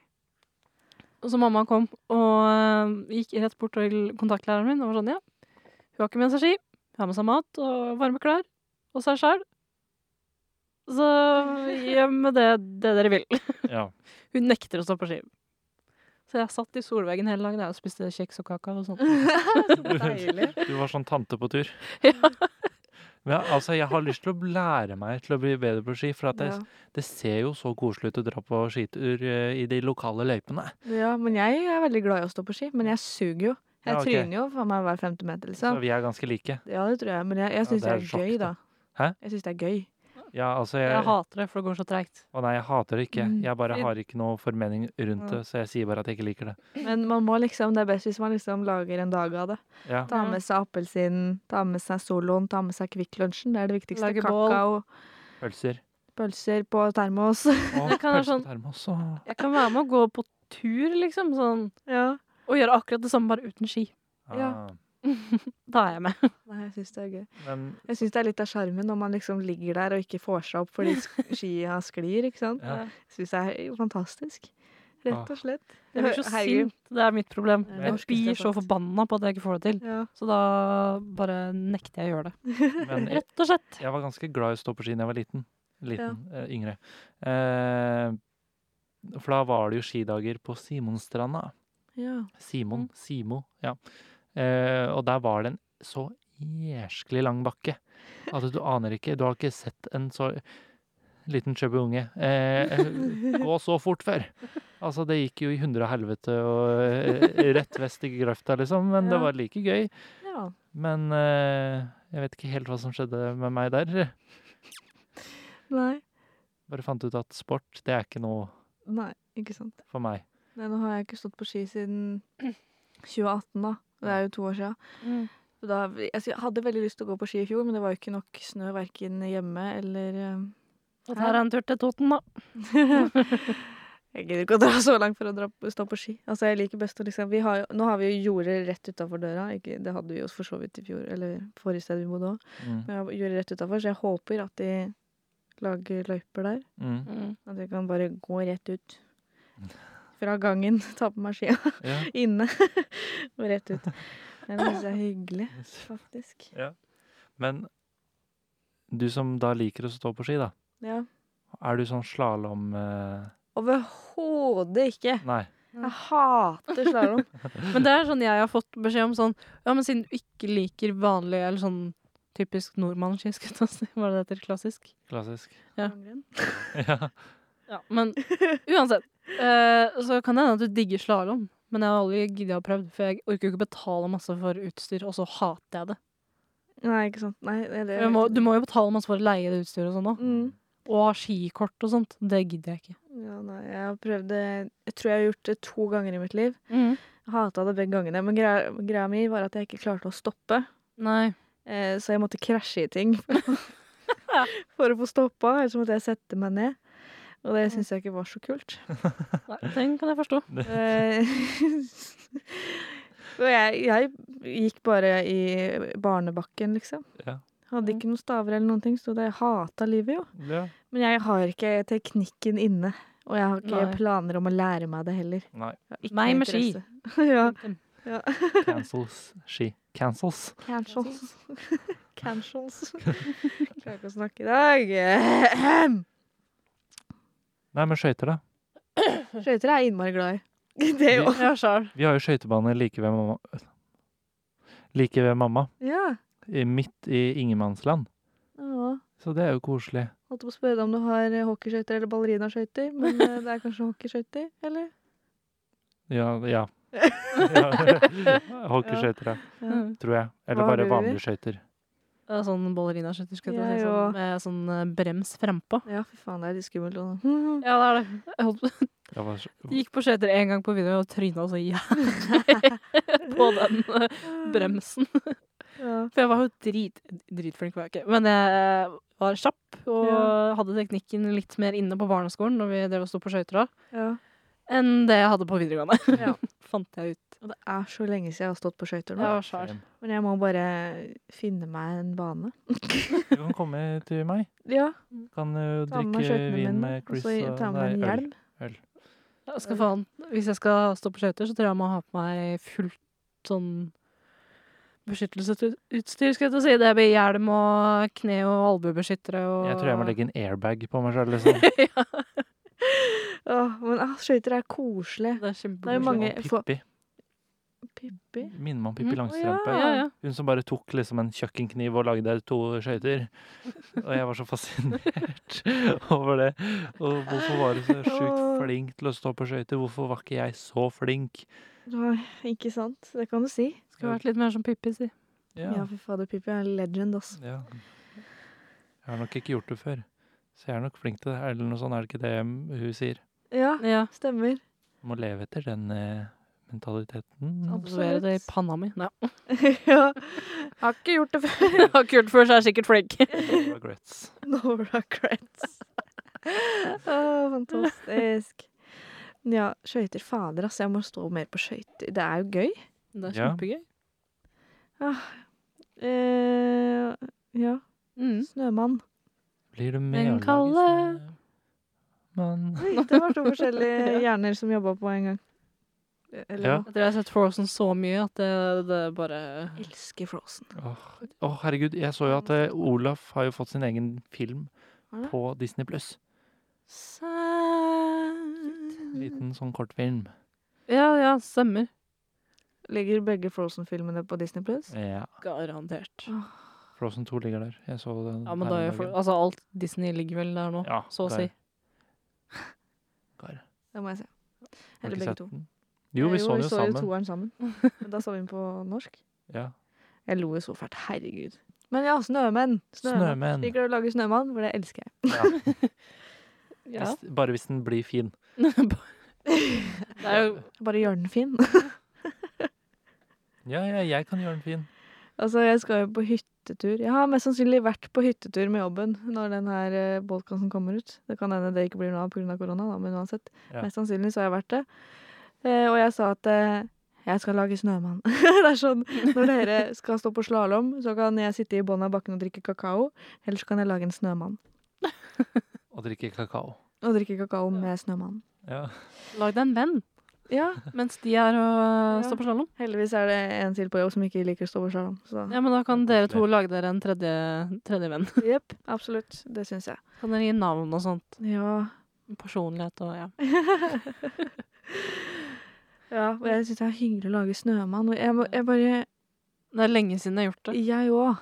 S3: Og så mamma kom og eh, gikk rett bort til kontaktlæreren min og var sånn, ja, hun har ikke med seg ski, hun har med seg mat og varme klær, og seg selv. Så gjør med det, det dere vil.
S2: Ja.
S3: Hun nekter å stå på ski. Så jeg satt i solveggen hele dagen jeg, og spiste kjeks og kaka og sånt.
S1: Så deilig.
S2: Du var sånn tante på tur. Men jeg- altså, jeg har lyst til å lære meg til å bli bedre på ski, for at jeg
S1: Ja.
S2: Det ser jo så koselig ut å dra på skitur eh, i de lokale løypene.
S1: ja, men jeg er veldig glad i å stå på ski. Men jeg suger jo. Jeg
S2: Ja, ok.
S1: tryner jo faen meg hver femte meter, liksom.
S2: Så vi er ganske like.
S1: Ja, det tror jeg. Men jeg, jeg syns
S2: det er
S1: det,
S2: sjokk,
S1: er gøy, da.
S2: da. Hæ?
S1: Jeg syns det er gøy.
S2: Ja, altså jeg,
S3: Jeg hater det, for det går så treigt.
S2: Å nei, jeg hater det ikke.
S1: Mm.
S2: Jeg bare har ikke noe formening rundt
S3: Ja.
S2: det, så jeg sier bare at jeg ikke liker det.
S1: Men man må liksom, det er best hvis man liksom lager en dag av det.
S2: Ja,
S1: Ta
S3: Ja.
S1: med seg appelsinen, ta med seg Soloen, ta med seg Kvikk Lunsjen. Det er det viktigste.
S3: Lage bål.
S1: Kakao,
S2: Pølser.
S1: pølser på termos.
S2: Og
S3: Det kan være
S2: pølser
S3: sånn-
S2: på termos og
S3: Jeg kan være med og gå på tur, liksom, sånn,
S1: ja.
S3: og gjøre akkurat det samme, bare uten ski.
S2: ah.
S3: Da er jeg med.
S1: Nei, jeg syns det er gøy.
S2: Men
S1: Jeg syns det er litt av sjarmen når man liksom ligger der og ikke får seg opp fordi sk- skia sklir, ikke sant.
S2: ja.
S1: Jeg syns det er fantastisk. Rett
S2: Ah.
S1: og slett.
S3: Jeg blir så
S1: Herregud.
S3: sint. Det er mitt problem.
S1: Det
S2: er
S3: Jeg
S1: norskeste
S3: blir
S1: jeg
S3: så
S1: fant.
S3: forbanna på at jeg ikke får det til.
S1: Ja.
S3: Så da bare nekter jeg å gjøre det.
S2: men jeg,
S3: Rett og slett.
S2: jeg var ganske glad i å stå på ski da jeg var liten. Liten. eh, yngre. Eh, for da var det jo skidager på Simonstranda.
S1: ja.
S2: Simon.
S3: Mm.
S2: Simo, ja. Eh, og der var det en så Altså, jæsklig lang bakke at du aner ikke Du har ikke sett en så Liten chubby unge. Eh, gå så fort før! Altså, det gikk jo i hundre og helvete og eh, rett vest i grøfta, liksom. Men
S1: Ja.
S2: det var like gøy.
S1: Ja.
S2: Men eh, jeg vet ikke helt hva som skjedde med meg der.
S1: Nei.
S2: Bare fant ut at sport, det er ikke noe
S1: Nei, ikke sant.
S2: for meg.
S1: Nei, nå har jeg ikke stått på ski siden 2018, da. Det er jo to år siden. Så Da, jeg hadde veldig lyst til å gå på ski i fjor, men det var jo ikke nok snø verken hjemme eller eh,
S3: Og der er en tur til Toten, da.
S1: Jeg gidder ikke å dra så langt for å dra, stå på ski. Altså, jeg liker best å liksom vi har, jo- Nå har vi jo jorder rett utafor døra. Ikke, det hadde vi jo for så vidt i fjor, eller forrige sted vi bodde òg.
S2: Mm.
S1: Men jeg jorder rett utenfor, så jeg håper at de lager løyper der.
S2: Mm.
S1: At jeg kan bare gå rett ut fra gangen, ta på meg skia
S2: Ja.
S1: inne og rett ut. Det syns jeg er hyggelig, faktisk.
S2: Men du som da liker å stå på ski, da.
S1: Ja.
S2: Er du sånn slalåm... Eh,
S1: Overhodet ikke.
S2: nei.
S3: Mm.
S1: Jeg hater slalåm.
S3: Men det er sånn jeg har fått beskjed om sånn Ja, men siden du ikke liker vanlig eller sånn typisk nordmann-ski, skal jeg ta og si, hva er det heter, klassisk.
S2: Klassisk.
S3: Ja.
S1: Langrenn.
S2: Ja.
S3: Ja, men uansett. eh, så kan det hende at du digger slalåm, men jeg har aldri giddet å prøve, for jeg orker jo ikke betale masse for utstyr, og så hater jeg det.
S1: Nei, ikke sant. Nei, det, det,
S3: Du må, du må jo betale masse for å leie det utstyret og sånn òg.
S1: mm.
S3: Og ha skikort og sånt. Det gidder jeg ikke.
S1: Ja, nei, jeg har prøvd det Jeg tror jeg har gjort det to ganger i mitt liv. Jeg Hata det begge gangene. Men greia, greia mi var at jeg ikke klarte å stoppe.
S3: Nei.
S1: Eh, så jeg måtte krasje i ting for å få stoppa. Ellers måtte jeg sette meg ned. Og det syns jeg ikke var så kult.
S3: Nei, Den kan jeg forstå.
S1: Eh, og jeg, jeg gikk bare i barnebakken, liksom.
S2: Ja.
S1: Hadde ikke noen staver eller noen ting, så det hata livet, jo.
S2: ja.
S1: Men jeg har ikke teknikken inne. Og jeg har ikke
S3: Nei.
S1: planer om å lære meg det heller.
S2: Nei.
S1: Jeg har ikke
S3: Meg
S1: noe
S3: med ski.
S1: interesse. ja.
S2: Cancels. Ski. Cancels.
S1: Cancels. Cancels. Klarer ikke å snakke i dag.
S2: Nei, men skøyter, da.
S1: Skøyter er jeg innmari glad i. Det er jo
S3: Ja, sjøl.
S2: Vi har jo skøytebane like ved mamma. Like ved mamma.
S1: Ja.
S2: i- Midt i ingenmannsland.
S1: ja.
S2: Så det er jo koselig.
S1: Holdt på å spørre deg om du har eh, hockeyskøyter eller ballerinaskøyter, men eh, det er kanskje hockeyskøyter, eller?
S2: Ja. ja. ja. Hockeyskøyter, ja. Tror jeg. Eller
S1: Hva har
S2: bare
S1: du i?
S2: vanlige skøyter.
S3: Sånn ballerinaskjøtter, skal jeg
S1: Jeg
S3: til å si.
S1: òg.
S3: Sånn, med sånn eh, brems frempå.
S1: Ja, fy faen, det er litt skummelt. nå.
S3: Ja, det er det. Jeg holdt,
S2: Ja, hva s-
S3: gikk på skøyter én gang på video og tryna så jævlig på den eh, bremsen.
S1: Ja.
S3: For jeg var jo drit, dritflink, var jeg ikke. Men jeg eh, var kjapp og
S1: Ja.
S3: hadde teknikken litt mer inne på barneskolen når vi drev og sto på skøyter da,
S1: ja.
S3: enn det jeg hadde på videregående.
S1: Ja.
S3: Fant jeg ut.
S1: Og det er så lenge siden jeg har stått på skøyter nå.
S3: Ja. sjæl.
S2: Fem.
S1: Men jeg må bare finne meg en bane.
S2: Du kan komme til meg.
S1: Ja,
S2: Kan jo
S1: ta med meg
S2: drikke
S1: skøytene
S2: vin
S1: mine,
S2: med
S1: og
S2: Chris
S1: så ta med meg en
S2: nei, øl.
S1: hjelm.
S3: Jeg skal faen, hvis jeg skal stå på skøyter, så tror jeg jeg må ha på meg fullt sånn beskyttelsesutstyr, skal jeg til å si. Det blir hjelm og kne- og albuebeskyttere og
S2: Jeg tror jeg må legge en airbag på meg sjøl. Liksom.
S1: Åh, men ah, skøyter er koselig. Det
S3: Det er
S1: er jo
S3: kjempekoselig.
S1: mange få-
S2: Pippi.
S1: Pippi.
S2: Minner meg om Pippi
S3: Mm,
S2: Langstrømpe.
S3: Ja, ja.
S2: Hun som bare tok liksom en kjøkkenkniv og lagde to skøyter. Og jeg var så fascinert over det. Og hvorfor var du så sjukt
S1: Åh.
S2: flink til å stå på skøyter? Hvorfor var ikke jeg så flink?
S1: Nei, ikke sant? Det kan du si.
S3: Skulle vært litt mer som Pippi, si.
S1: Ja,
S2: Ja.
S1: fy fader, Pippi er en legend, ass.
S2: ja. Jeg har nok ikke gjort det før. Så jeg er nok flink til det. Eller noe sånt, er det ikke det hun sier?
S1: Ja,
S3: Ja.
S1: stemmer.
S2: Må leve etter den eh, mentaliteten.
S3: Absolutt. Det i panna mi. Nei.
S1: ja. Har ikke gjort det før.
S3: Jeg har ikke gjort det før, så jeg er sikkert flink.
S2: Regrets.
S1: No regrets. Åh, fantastisk. Ja, skøyter. Fader, ass. Jeg må stå mer på skøyter. Det er jo gøy.
S3: Det er
S2: Ja.
S3: kjempegøy.
S1: Eh, ja.
S3: Mm.
S1: Snømann.
S2: Blir du med
S3: Den
S2: å lage
S3: kalde-
S2: snø? Mann.
S1: Oi, det var to forskjellige hjerner som jobba på en gang. Eh, Eller
S2: Ja.
S1: noe.
S3: Jeg tror jeg har sett Frozen så mye at det, det er bare
S1: Elsker Frozen.
S2: Åh, åh, herregud, jeg så jo at eh, Olaf har jo fått sin egen film
S1: Har det?
S2: på Disney Pluss.
S1: Mm.
S2: Liten sånn kortfilm.
S3: Ja, ja, stemmer.
S1: Ligger begge Frozen-filmene på Disney Plus?
S2: Ja.
S3: Garantert.
S1: Åh,
S2: Frozen 2 ligger der. Jeg så den
S3: Ja, men
S2: her om
S3: da er jo
S2: dagen.
S3: for, altså, alt Disney ligger vel der nå,
S2: Ja,
S3: så å
S2: der.
S3: si.
S2: Gar.
S1: Det må jeg se.
S2: Har du
S1: Eller
S2: ikke
S1: begge
S2: sett
S1: to. Eh,
S2: den? Jo, vi så den jo
S1: jo
S2: sammen.
S1: toeren sammen. Men da så vi den på norsk.
S2: Ja.
S1: Jeg lo jo så fælt. Herregud. Men ja, snømenn. Snømenn.
S2: Snømenn.
S1: Liker du å lage snømann? For det elsker jeg.
S3: Ja.
S2: Hvis- Bare hvis den blir fin.
S3: Det er jo
S1: Bare gjør den fin.
S2: Ja, ja, jeg kan gjøre den fin.
S1: altså, jeg skal jo på hyttetur. Jeg har mest sannsynlig vært på hyttetur med jobben når den her eh, podcasten kommer ut. Det kan hende det ikke blir noe av pga. korona, da, men uansett.
S2: Ja.
S1: Mest sannsynlig så har jeg vært det. Eh, og jeg sa at eh, jeg skal lage snømann. det er sånn, Når dere skal stå på slalåm, så kan jeg sitte i bånn av bakken og drikke kakao. Eller så kan jeg lage en snømann.
S2: Og drikke kakao.
S1: Og drikke kakao
S3: Ja.
S1: med snømannen.
S2: Ja.
S3: Lag deg en venn
S1: Ja,
S3: mens de er og øh,
S1: Ja.
S3: står på slalåm.
S1: heldigvis er det en til på jobb som ikke liker å stå på slalåm. Så
S3: Ja, men da kan
S2: Det er
S3: dere to lage dere en tredje, tredje venn.
S1: jepp, absolutt. Det syns jeg.
S3: Kan dere gi navn og sånt.
S1: Ja.
S3: Personlighet og ja.
S1: ja og jeg syns det er hyggelig å lage snømann. Og jeg, må- jeg bare
S3: Det er lenge siden jeg har gjort det.
S1: Jeg òg.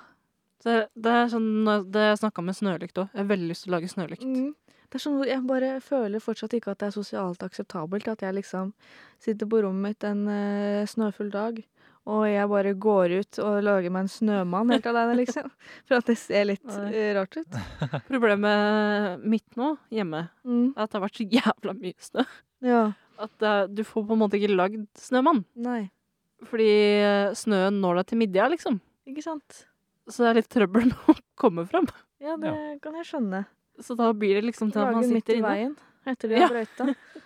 S3: Så det, det er sånn, når- det jeg snakka med snølykt òg. Jeg har veldig lyst til å lage snølykt.
S1: Mm. Det er sånn, jeg bare føler fortsatt ikke at det er sosialt akseptabelt at jeg liksom sitter på rommet mitt en eh, snøfull dag, og jeg bare går ut og lager meg en snømann helt alene, liksom. For at det ser litt
S3: Nei.
S1: eh, rart ut.
S3: Problemet mitt nå, hjemme,
S1: Mm.
S3: er at det har vært så jævla mye snø.
S1: Ja.
S3: At det, er- du får på en måte ikke lagd snømann.
S1: Nei.
S3: Fordi øh, snøen når deg til midja, liksom.
S1: Ikke sant?
S3: Så det er litt trøbbel med å komme fram.
S1: Ja, det kan jeg skjønne.
S3: Så da blir det liksom til at man
S1: Lage midt
S3: sitter
S1: i
S3: inne.
S1: veien etter de har
S3: Ja.
S1: brøyta.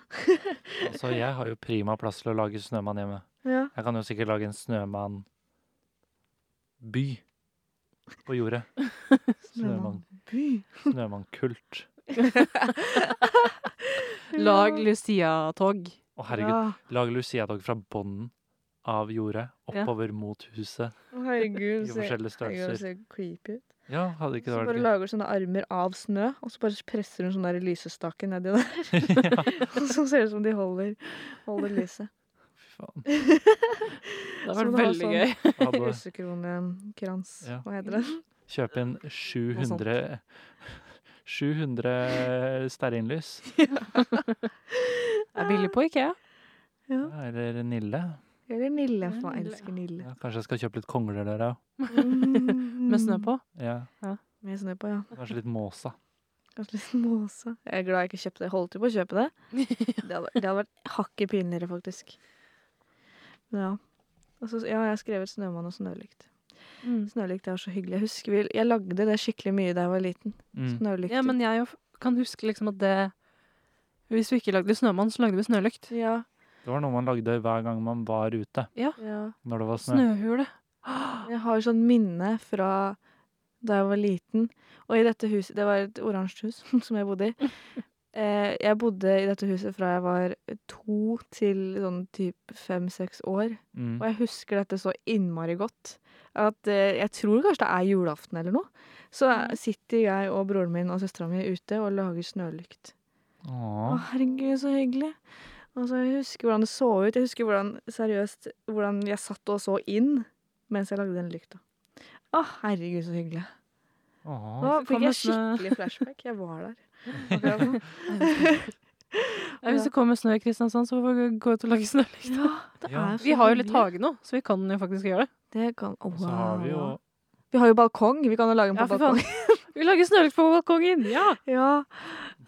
S2: Altså, jeg har jo prima plass til å lage snømann hjemme.
S1: Ja.
S2: Jeg kan jo sikkert lage en snømannby på jordet. Snømann.
S1: By.
S2: Snømannkult.
S3: Lag Lucia-tog.
S2: Å, herregud. Lag luciatog fra bånden av jordet
S3: Ja.
S2: oppover mot huset
S1: Ja. Herregud,
S2: i
S1: så-
S2: forskjellige
S1: herregud, det
S2: størrelser.
S1: ser creepy ut.
S2: Ja, hadde
S1: Så
S2: ikke det
S1: bare
S2: vært gøy?
S1: lager du sånne armer av snø, og så bare presser hun sånn der lysestake nedi der. Og så ser det ut som de holder, holder lyset.
S2: Fy faen.
S3: Det har
S1: Som
S3: vært
S1: det var
S3: veldig
S1: sånn.
S3: gøy.
S2: Hadde
S1: Russekronekrans,
S2: Ja.
S1: hva heter det?
S2: kjøpe inn 700 700 stearinlys.
S3: Det er billig på Ikea.
S1: Ja.
S2: Eller Nille.
S1: Eller Nille, for jeg
S3: Nille.
S1: elsker Nille.
S2: Ja, kanskje jeg skal kjøpe litt kongler der òg.
S3: Med snø på.
S2: Ja,
S1: mm, Med snø på, ja.
S2: kanskje litt måsa.
S1: Kanskje litt måse. Jeg er glad jeg ikke kjøpte det. Holdt jo på å kjøpe det. Det hadde, det hadde vært hakket pinligere, faktisk. Men ja. Og så- ja, jeg har skrevet 'Snømann og snølykt'.
S3: Mm.
S1: Snølykt er så hyggelig. Jeg husker vi, jeg lagde det skikkelig mye da jeg var liten.
S2: Mm.
S1: Snølykt.
S3: Ja, men jeg jo f- kan huske liksom at det Hvis vi ikke lagde snømann, så lagde vi snølykt.
S1: ja,
S2: Det var noe man lagde hver gang man var ute
S1: ja.
S2: når det var snø.
S3: Snøhule.
S1: Jeg har sånn minne fra da jeg var liten. Og i dette huset Det var et oransje hus som jeg bodde i. Eh, jeg bodde i dette huset fra jeg var to til sånn typ fem-seks år.
S2: Mm.
S1: Og jeg husker dette så innmari godt. At eh, Jeg tror kanskje det er julaften eller noe. Så
S3: Mm.
S1: sitter jeg og broren min og søstera mi ute og lager snølykt. Å,
S2: Åh.
S1: herregud, så hyggelig. Og så Jeg husker hvordan det så ut. Jeg husker hvordan, seriøst, hvordan jeg satt og så inn mens jeg lagde den lykta. Å, herregud, så hyggelig.
S2: Åh.
S1: Nå
S3: så
S1: fikk
S3: kommer
S1: jeg
S3: snø-
S1: skikkelig flashback. Jeg var der. akkurat nå.
S3: Ja, hvis det kommer snø i Kristiansand, så får vi gå ut og lage snølykt.
S1: Ja, det
S2: Ja.
S1: er så
S3: Vi har jo litt
S1: hyggelig.
S3: hage nå, så vi kan jo faktisk gjøre det.
S1: Det kan, Å,
S2: Og så har vi jo
S1: wow. vi har jo balkong. Vi kan jo lage den
S3: Ja,
S1: på
S3: for faen.
S1: balkong.
S3: Vi lager snølykt på balkongen! Ja!
S1: Ja.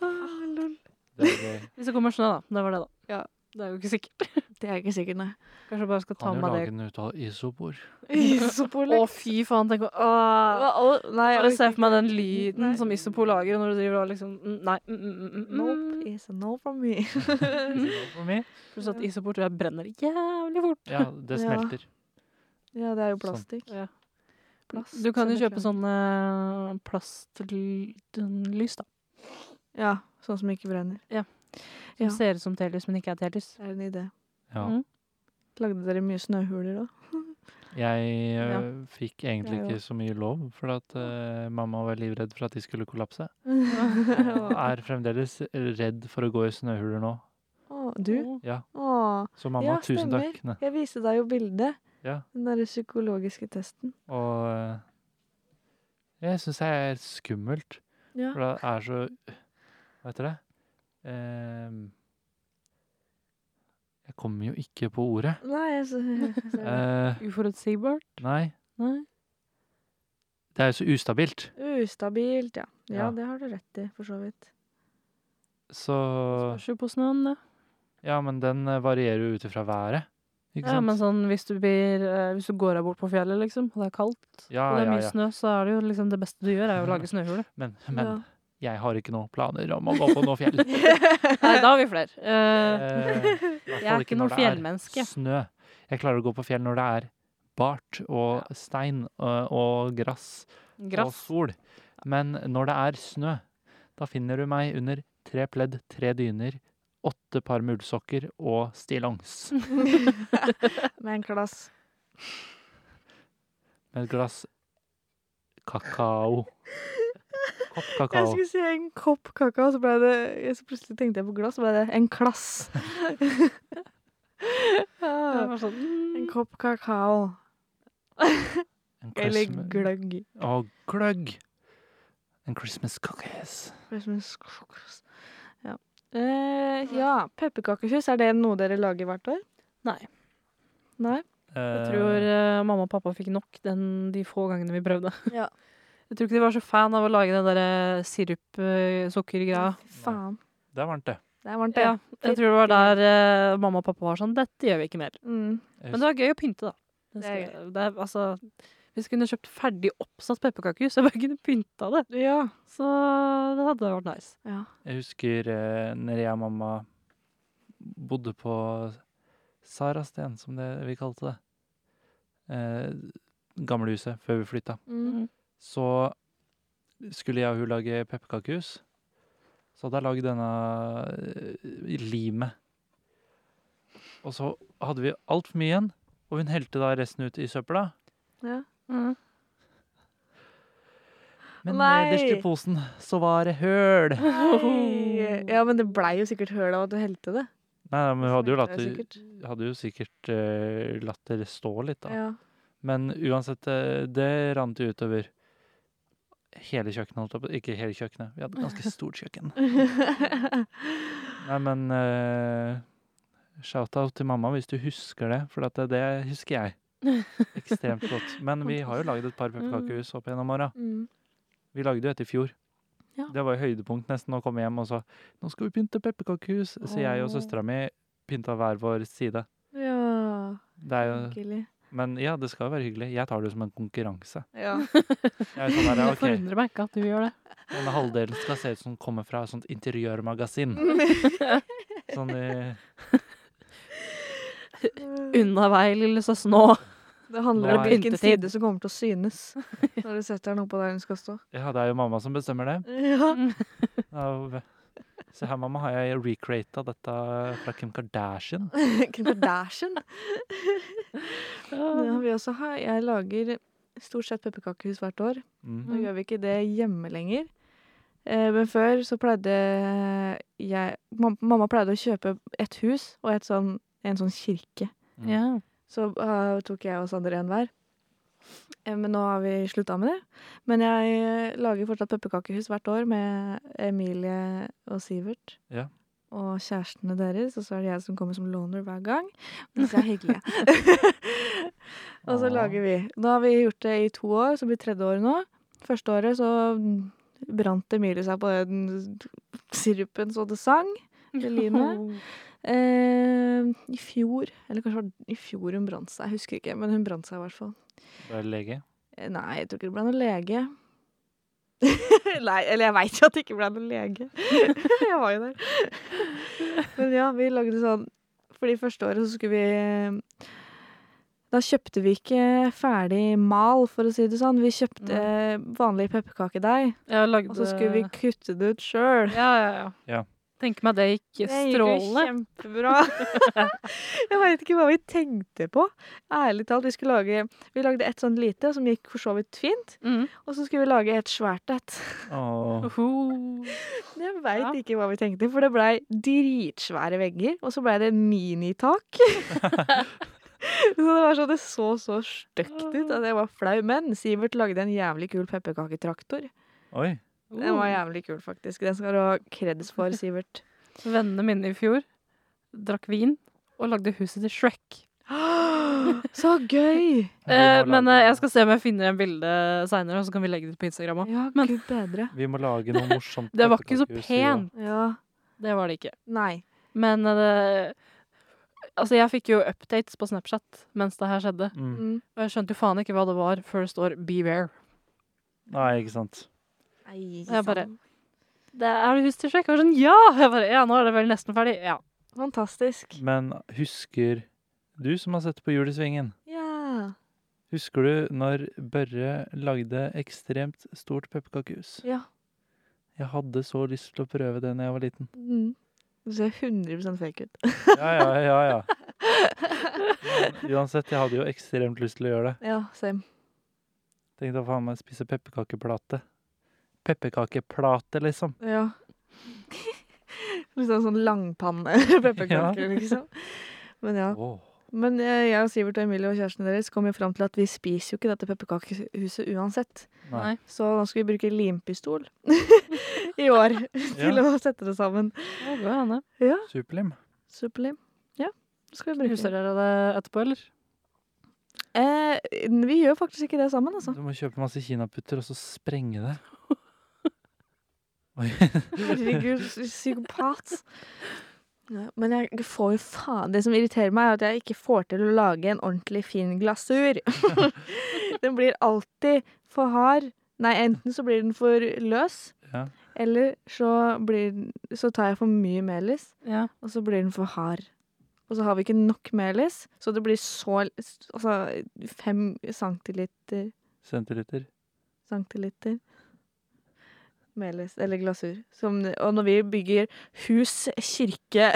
S1: Ah, lol.
S2: det er gøy.
S3: Hvis det kommer snø, da. Det var det, da.
S1: Ja.
S3: Det er jo ikke sikkert.
S1: Det er ikke sikkert, nei.
S3: Kanskje jeg bare skal ta
S2: Kan jo
S3: med
S2: lage
S3: det.
S2: den ut av isobor.
S1: Isopol.
S3: Å, fy faen. Tenk å Åh.
S1: Nei, altså,
S3: Bare se for meg den
S1: Nei.
S3: lyden som Isopol lager når du driver og liksom mm, Nei. Mm, mm, mm, mm,
S1: Nope,
S3: mm.
S1: it's a no from me.
S2: For meg.
S3: Pluss at Isopol tror jeg brenner jævlig fort.
S2: Ja, det
S1: Ja.
S2: smelter.
S1: Ja, det er jo
S2: Sånn.
S1: plastikk.
S3: Ja.
S1: Plast, sånn
S3: Du kan
S1: som
S3: jo
S1: det
S3: kjøpe
S1: klarer.
S3: sånne plastlys, da.
S1: Ja, sånn som ikke brenner.
S3: Som
S1: Ja.
S3: ser ut som telys, men ikke er telys.
S1: Det er en idé.
S2: Ja.
S3: Mm.
S1: Lagde dere mye snøhuler da?
S2: Jeg ø,
S3: Ja.
S2: fikk egentlig
S1: Jeg
S2: ikke så mye lov, for at ø, mamma var livredd for at de skulle kollapse. Og
S1: Åh,
S2: er fremdeles redd for å gå i snøhuler nå.
S1: du?
S3: Åh.
S2: Ja.
S1: Åh,
S2: Så mamma,
S1: Ja,
S2: tusen
S1: stemmer.
S2: takk. Ne.
S1: jeg viste deg jo bildet.
S2: Ja.
S1: Den der psykologiske testen.
S2: Og ø, eh, Jeg syns det er skummelt.
S1: Ja.
S2: For det er så Hva heter det? Ehm, jeg kommer jo ikke på ordet.
S1: Nei, jeg s- ser det.
S2: Eh,
S3: Uforutsigbart?
S2: nei.
S3: Nei.
S2: Det er jo så ustabilt.
S1: Ustabilt, ja.
S2: Eh. Ja.
S1: Ja, det har du rett i, for så vidt.
S2: Så
S3: Spørs jo på snøen, det.
S2: Ja, men den eh, varierer jo ut ifra været. Ikke
S3: Ja,
S2: sant?
S3: men sånn hvis du, blir, eh, hvis du går deg bort på fjellet, liksom, og det er kaldt,
S2: ja,
S3: og det er
S2: Ah, ja,
S3: mye
S2: ja.
S3: snø, så er det jo liksom det beste du gjør, er jo å lage snøhule.
S2: Men, men
S1: Ja.
S2: jeg har ikke noen planer om å gå på noe fjell.
S3: Nei, da har vi flere.
S2: Eh,
S3: Eh,
S2: i hvert
S3: jeg
S2: fall
S3: er ikke
S2: når
S3: noe
S2: det er
S3: fjellmenneske.
S2: Snø. Jeg klarer å gå på fjell når det er bart og stein og, og grass, og
S3: Grass.
S2: sol. Men når det er snø, da finner du meg under tre pledd, tre dyner, åtte par mulsokker og stillongs.
S1: Med en glass.
S2: Med et glass kakao. Kopp
S1: Jeg
S2: kakao.
S1: skulle si en kopp kakao, så ble det jeg, så Plutselig tenkte jeg på glass, så ble det en klass.
S3: Det
S1: Ja,
S3: var sånn,
S1: en
S3: mm.
S1: kopp kakao.
S2: En
S1: Eller
S2: Christmas-
S1: gløgg.
S2: Og gløgg. En Christmas cookies.
S1: Christmas cookies. Ja. Eh, ja, pepperkakehus, er det noe dere lager hvert år?
S3: Nei.
S1: Nei?
S3: Jeg tror eh, mamma og pappa fikk nok den, de få gangene vi prøvde.
S1: Ja.
S3: Jeg tror ikke de var så fan av å lage den eh, derre sirup-sukkergreia.
S1: Fy faen.
S2: Det er varmt, det.
S1: Det er varmt, det.
S3: eh, Ja, jeg tror det var der eh, mamma og pappa var sånn Dette gjør vi ikke mer.
S1: Mm.
S2: Jeg
S3: Men det var gøy å pynte, da. Det
S1: Det er
S3: skal, det er, altså, hvis vi kunne kjøpt ferdig oppsatt pepperkakehus, så jeg bare kunne pynta det.
S1: ja.
S3: Så det hadde vært nice.
S1: ja.
S2: Jeg husker eh, når jeg og mamma bodde på Sarasten, som det vi kalte det. Eh, Gamlehuset, før vi flytta.
S1: Mm.
S2: Så skulle jeg og hun lage pepperkakehus. Så hadde jeg lagd denne eh, limet. Og så hadde vi altfor mye igjen, og hun helte da resten ut i søpla.
S1: ja.
S3: Mm.
S2: Men
S1: Nei.
S2: nederst i posen så var det høl. Nei,
S1: Hei. Ja, men det blei jo sikkert høl av at du helte det.
S2: nei, men hun hadde jo latt
S1: Smakte
S2: det,
S1: sikkert.
S2: hadde jo sikkert eh, latt det stå litt, da.
S1: Ja.
S2: Men uansett, eh, det rant jo utover hele kjøkkenet. holdt jeg på- Ikke hele kjøkkenet, vi hadde et ganske stort kjøkken. Nei, men eh, shout-out til mamma hvis du husker det, for at det, det husker jeg. Ekstremt godt. Men vi har jo lagd et par pepperkakehus opp gjennom åra.
S1: Mm.
S2: Vi lagde jo et i fjor.
S1: Ja.
S2: Det var jo høydepunkt nesten å komme hjem og så 'Nå skal vi pynte pepperkakehus', så jeg og
S3: Åh.
S2: søstera mi pynta hver vår side.
S1: ja.
S2: Det er jo,
S1: Hyggelig.
S2: men ja, det skal jo være hyggelig. Jeg tar det jo som en konkurranse.
S1: Ja.
S2: Jeg er sånn der,
S3: Det
S2: ok,
S3: forundrer meg ikke at du gjør det.
S2: Denne halvdelen skal se ut som den kommer fra et sånt interiørmagasin. Sånn i
S1: Mm.
S3: Unna vei, lille søs, nå.
S1: Det
S2: Nå
S1: handler om
S2: er
S1: hvilken
S3: pyntetid.
S1: side som kommer til å synes når du setter den oppå der den skal stå.
S2: Ja, det er jo mamma som bestemmer det.
S1: Ja.
S2: Ja, Se her, mamma, har jeg recreata dette fra Kim Kardashian.
S1: Kim Kardashian. Det har vi også her. Jeg lager stort sett pepperkakehus hvert år.
S2: Mm.
S1: Nå gjør vi ikke det hjemme lenger. Eh, Men før så pleide jeg mam- Mamma pleide å kjøpe et hus og et sånn, en sånn kirke.
S2: Mm.
S3: Ja.
S1: Så eh, tok jeg og Sander en hver. Eh, Men nå har vi slutta med det. Men jeg eh, lager fortsatt pepperkakehus hvert år med Emilie og Sivert.
S2: Ja.
S1: Og kjærestene deres, og så er det jeg som kommer som loner hver gang. Men så er jeg hyggelig. og så
S2: Åh.
S1: lager vi. Da har vi gjort det i to år, så blir det tredje året nå. Første året så brant Emilie seg på den sirupen så det sang. Det limet. Eh, I fjor, eller kanskje det var i fjor hun brant seg, jeg husker ikke, men hun brant seg i hvert fall.
S2: Du er lege.
S1: Eh, Nei, jeg tror ikke det ble noen lege. Nei, eller jeg veit jo at det ikke ble noen lege. jeg var jo der. men ja, vi lagde sånn Fordi første året så skulle vi eh, Da kjøpte vi ikke ferdig mal, for å si det sånn. Vi kjøpte eh, vanlig pepperkakedeig,
S3: Jeg lagde
S1: og så skulle vi kutte det ut sjøl.
S3: Ja, ja, ja.
S2: Ja.
S3: Tenk meg det gikk strålende.
S1: Det gikk jo kjempebra. jeg veit ikke hva vi tenkte på. Ærlig talt, vi skulle lage Vi lagde et sånn lite som gikk for så vidt fint,
S3: Mm.
S1: og så skulle vi lage et svært et.
S2: Åh.
S3: Oho.
S1: Men Jeg veit
S3: Ja.
S1: ikke hva vi tenkte, for det blei dritsvære vegger, og så blei det minitak. Så det var sånn, det så så stygt ut at jeg var flau. Men Sivert lagde en jævlig kul pepperkaketraktor.
S2: Oi.
S1: Den var
S3: Oh.
S1: jævlig kul, faktisk. Den skal du ha kreds for, Sivert.
S3: Vennene mine i fjor drakk vin og lagde huset til Shrek.
S1: Så gøy!
S2: Vi må
S3: Eh,
S2: lage-
S3: men eh, jeg skal se om jeg finner en bilde seinere, og så kan vi legge det ut på Instagram òg.
S1: Ja,
S3: Men-
S1: gud bedre.
S2: Vi må lage noe morsomt.
S3: Det var ikke så
S2: pepperkakehus i år.
S3: pent.
S1: Ja.
S3: Det var det ikke.
S1: Nei.
S3: Men eh, det Altså, jeg fikk jo updates på Snapchat mens det her skjedde.
S2: Mm.
S1: Mm.
S3: Og jeg skjønte jo faen ikke hva det var før det står 'beware'.
S2: Nei, ikke sant.
S1: Nei,
S3: Jeg bare-
S1: sann.
S3: Det er det hus til Shrek? Og jeg var sånn, ja! Jeg bare, ja, nå er det vel nesten ferdig. Ja.
S1: Fantastisk.
S2: Men husker du som har sett på Jul i Svingen,
S1: Ja.
S2: husker du når Børre lagde ekstremt stort pepperkakehus?
S1: Ja.
S2: Jeg hadde så lyst til å prøve det da jeg var liten.
S1: Mm. Du ser 100 fake ut.
S2: Ja, ja, ja, ja. Men uansett, jeg hadde jo ekstremt lyst til å gjøre det.
S1: Ja, same.
S2: Tenkte å faen meg spise pepperkakeplate. Pepperkakeplate, liksom.
S1: Ja. Liksom sånn langpanne pepperkaker, liksom. Men ja.
S2: Åh.
S1: Men eh, jeg og Sivert og Emilie og kjæresten deres kom jo fram til at vi spiser jo ikke dette pepperkakehuset uansett.
S2: Nei.
S1: Så nå skal vi bruke limpistol i år til å sette det sammen.
S3: Det går jo an, det.
S2: Superlim.
S1: Superlim. Ja, det skal vi bruke.
S3: Huser dere det etterpå, eller?
S1: Eh, vi gjør faktisk ikke det sammen, altså.
S2: Du må kjøpe masse kinaputter og så sprenge det. Oi.
S1: Herregud, psykopat. Ja, men jeg får jo faen Det som irriterer meg, er at jeg ikke får til å lage en ordentlig fin glasur. den blir alltid for hard. Nei, enten så blir den for løs,
S2: Ja.
S1: eller så, blir, den- så tar jeg for mye melis,
S3: Ja.
S1: og så blir den for hard. Og så har vi ikke nok melis, så det blir så Altså fem centiliter
S2: Centiliter.
S1: centiliter melis, eller glasur. Som, og når vi bygger hus, kirke,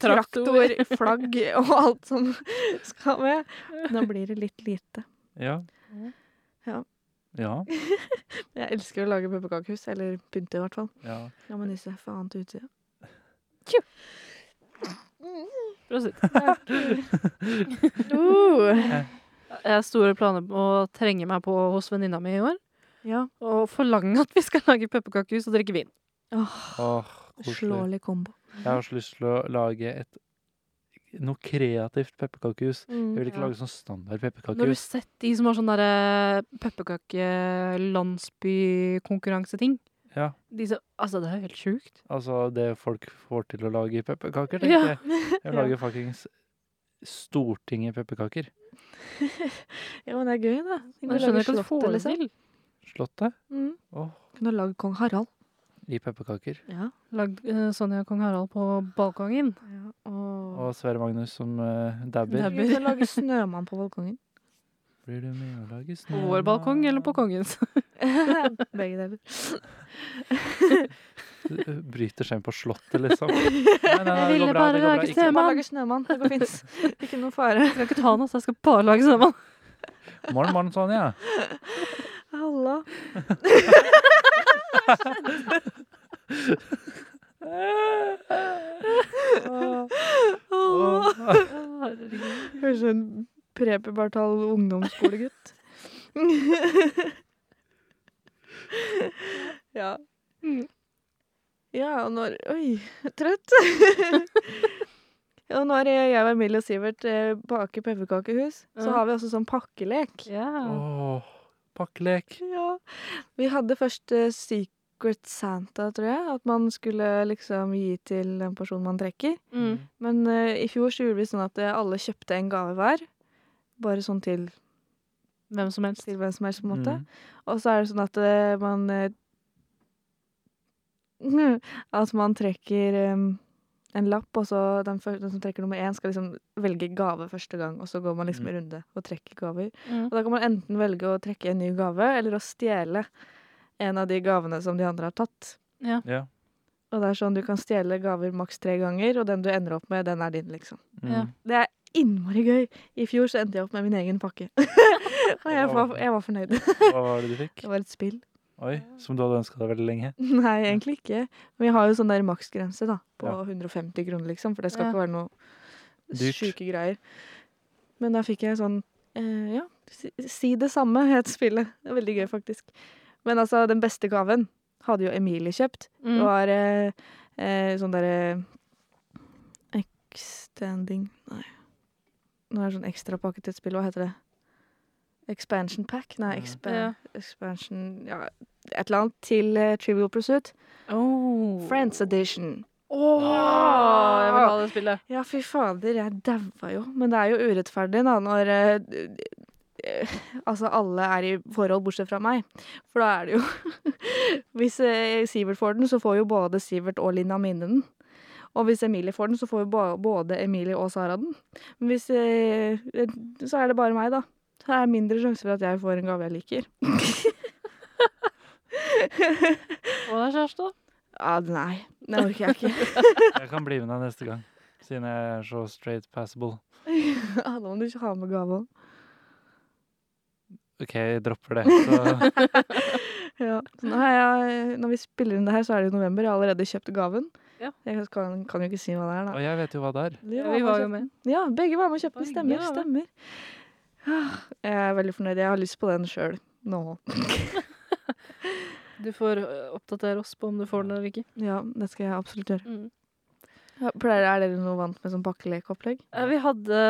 S1: traktor, flagg og alt som skal med, da blir det litt lite.
S2: Ja.
S1: Ja.
S2: Ja.
S1: Jeg elsker å lage pepperkakehus, eller pynte i hvert fall.
S2: ja.
S1: La meg nyse faen til utsida.
S3: Prosit.
S1: Uh,
S3: Jeg har store planer om å trenge meg på hos venninna mi i år.
S1: ja.
S3: Og forlange at vi skal lage pepperkakehus og drikke vin.
S1: Åh,
S2: Åh, koselig.
S1: slåelig kombo.
S2: Jeg har så lyst til å lage et, noe kreativt pepperkakehus. Jeg vil ikke
S3: Ja.
S2: lage sånn standard
S3: Nå har du
S2: pepperkakehus.
S3: sett de som har sånn derre pepperkakelandsbykonkurranseting.
S2: Ja,
S3: De som Altså, det er jo helt sjukt.
S2: altså det folk får til å lage i pepperkaker,
S3: Ja.
S2: tenker jeg. Jeg
S1: Ja.
S2: lager fuckings Stortinget-pepperkaker.
S1: Ja, men det er gøy, da. Vi kan
S3: Men jeg skjønner
S1: lage
S3: ikke at du får
S1: slottet,
S3: det
S1: liksom.
S3: til.
S2: Slottet
S1: Mm.
S2: Åh.
S1: Kunne lagd kong Harald.
S2: i pepperkaker.
S1: Ja.
S3: Lagd eh, Sonja og kong Harald på balkongen.
S1: Og
S2: Og Sverre Magnus som uh, dabber.
S3: Dab-
S1: vi kunne lage snømann på balkongen.
S2: Blir du med å lage
S3: På vår
S2: snømann?
S3: balkong eller på kongens?
S1: Begge deler.
S2: Bryter seg inn på Slottet, liksom. Nei, nei, nei, det
S3: ville
S2: går bra.
S3: bare
S2: Det går
S3: lage
S2: bra. Ikke,
S1: Snømann.
S3: Snømann.
S1: Bare lage snømann. Det går fint. Ikke noe fare.
S3: Jeg skal ikke ta noe, så jeg skal bare lage snømann.
S2: morgen, morgen, Sonja.
S1: Halla.
S2: Åh.
S1: Høres ut som en prepubertal ungdomsskolegutt. ja. Mm. Ja, og når Oi, trøtt. og når jeg og Emilie og Sivert eh, baker pepperkakehus, så
S3: Ja.
S1: har vi også sånn pakkelek.
S3: Ja.
S2: Åh, pakkelek.
S1: Ja. Vi hadde først eh, Secret Santa, tror jeg. At man skulle liksom gi til den personen man trekker.
S3: Mm.
S1: Men eh, i fjor så gjorde vi sånn at eh, alle kjøpte en gave hver. Bare sånn til,
S3: Hvem som helst.
S1: til hvem som helst, på en måte.
S2: Mm.
S1: Og så er det sånn at eh, man eh, At man trekker eh, en lapp, og så den, fø- den som trekker nummer én, skal liksom velge gave første gang. Og så går man liksom i runde og trekker gaver.
S3: Mm.
S1: Og da kan man enten velge å trekke en ny gave, eller å stjele en av de gavene som de andre har tatt.
S2: Ja.
S1: Og det er sånn du kan stjele gaver maks tre ganger, og den du ender opp med, den er din, liksom.
S2: Mm.
S3: Ja.
S1: Det er innmari gøy. I fjor så endte jeg opp med min egen pakke. og jeg var, jeg var fornøyd.
S2: Hva var det du fikk?
S1: Det var et spill.
S2: Oi, som du hadde ønska deg veldig lenge.
S1: Nei, egentlig ikke. Men vi har jo sånn der maksgrense, da. På
S2: Ja.
S1: 150 kroner, liksom. For det skal
S3: Ja.
S1: ikke være noe
S2: Dyrt.
S1: sjuke greier. Men da fikk jeg sånn eh, Ja, si, si det samme, het spillet. Det er veldig gøy, faktisk. Men altså, den beste gaven hadde jo Emilie kjøpt. Det
S3: Mm.
S1: var eh, eh, sånn derre Extending Nei. Nå er det sånn ekstrapakke til et spill. Hva heter det? Expansion pack? Nei,
S2: Ja.
S1: expa expansion Ja, et eller annet til eh, Trivial Pursuit.
S3: Oh.
S1: Friends edition.
S3: Åh, jeg vil ha det spillet.
S1: Ja, fy fader, jeg daua jo. Men det er jo urettferdig, da, når eh, eh, Altså, alle er i forhold bortsett fra meg. For da er det jo Hvis eh, Sivert får den, så får jo både Sivert og Lina Mine den. Og hvis Emilie får den, så får jo ba- både Emilie og Sara den. Men hvis eh, Så er det bare meg, da. Så er det mindre sjanse for at jeg får en gave jeg liker.
S3: Hva er kjæreste?
S1: Ja, Ah, nei. Det orker jeg ikke.
S2: Jeg kan bli med deg neste gang, siden jeg er så straight passable.
S1: Ja, Da må du ikke ha med gave òg.
S2: OK, jeg dropper det. Så
S1: Ja. så Nå har jeg, når vi spiller inn det her, så er det jo november. Jeg har allerede kjøpt gaven.
S3: Ja.
S1: Jeg kan, kan jo ikke si hva det er, da.
S2: og jeg vet jo hva det er.
S1: Vi
S3: Vi var jo
S1: med. å
S3: med.
S1: kjøpe den. Ja, begge var med og kjøpte den.
S3: Begge
S1: Stemmer.
S3: var med.
S1: stemmer. Ah, Jeg er veldig fornøyd. Jeg har lyst på den sjøl nå.
S3: Du får øh, oppdatere oss på om du får den eller ikke.
S1: Ja, det skal jeg absolutt gjøre.
S3: Mm.
S1: Ja, pleier, er dere noe vant med sånn pakkelekeopplegg?
S3: Eh, Vi hadde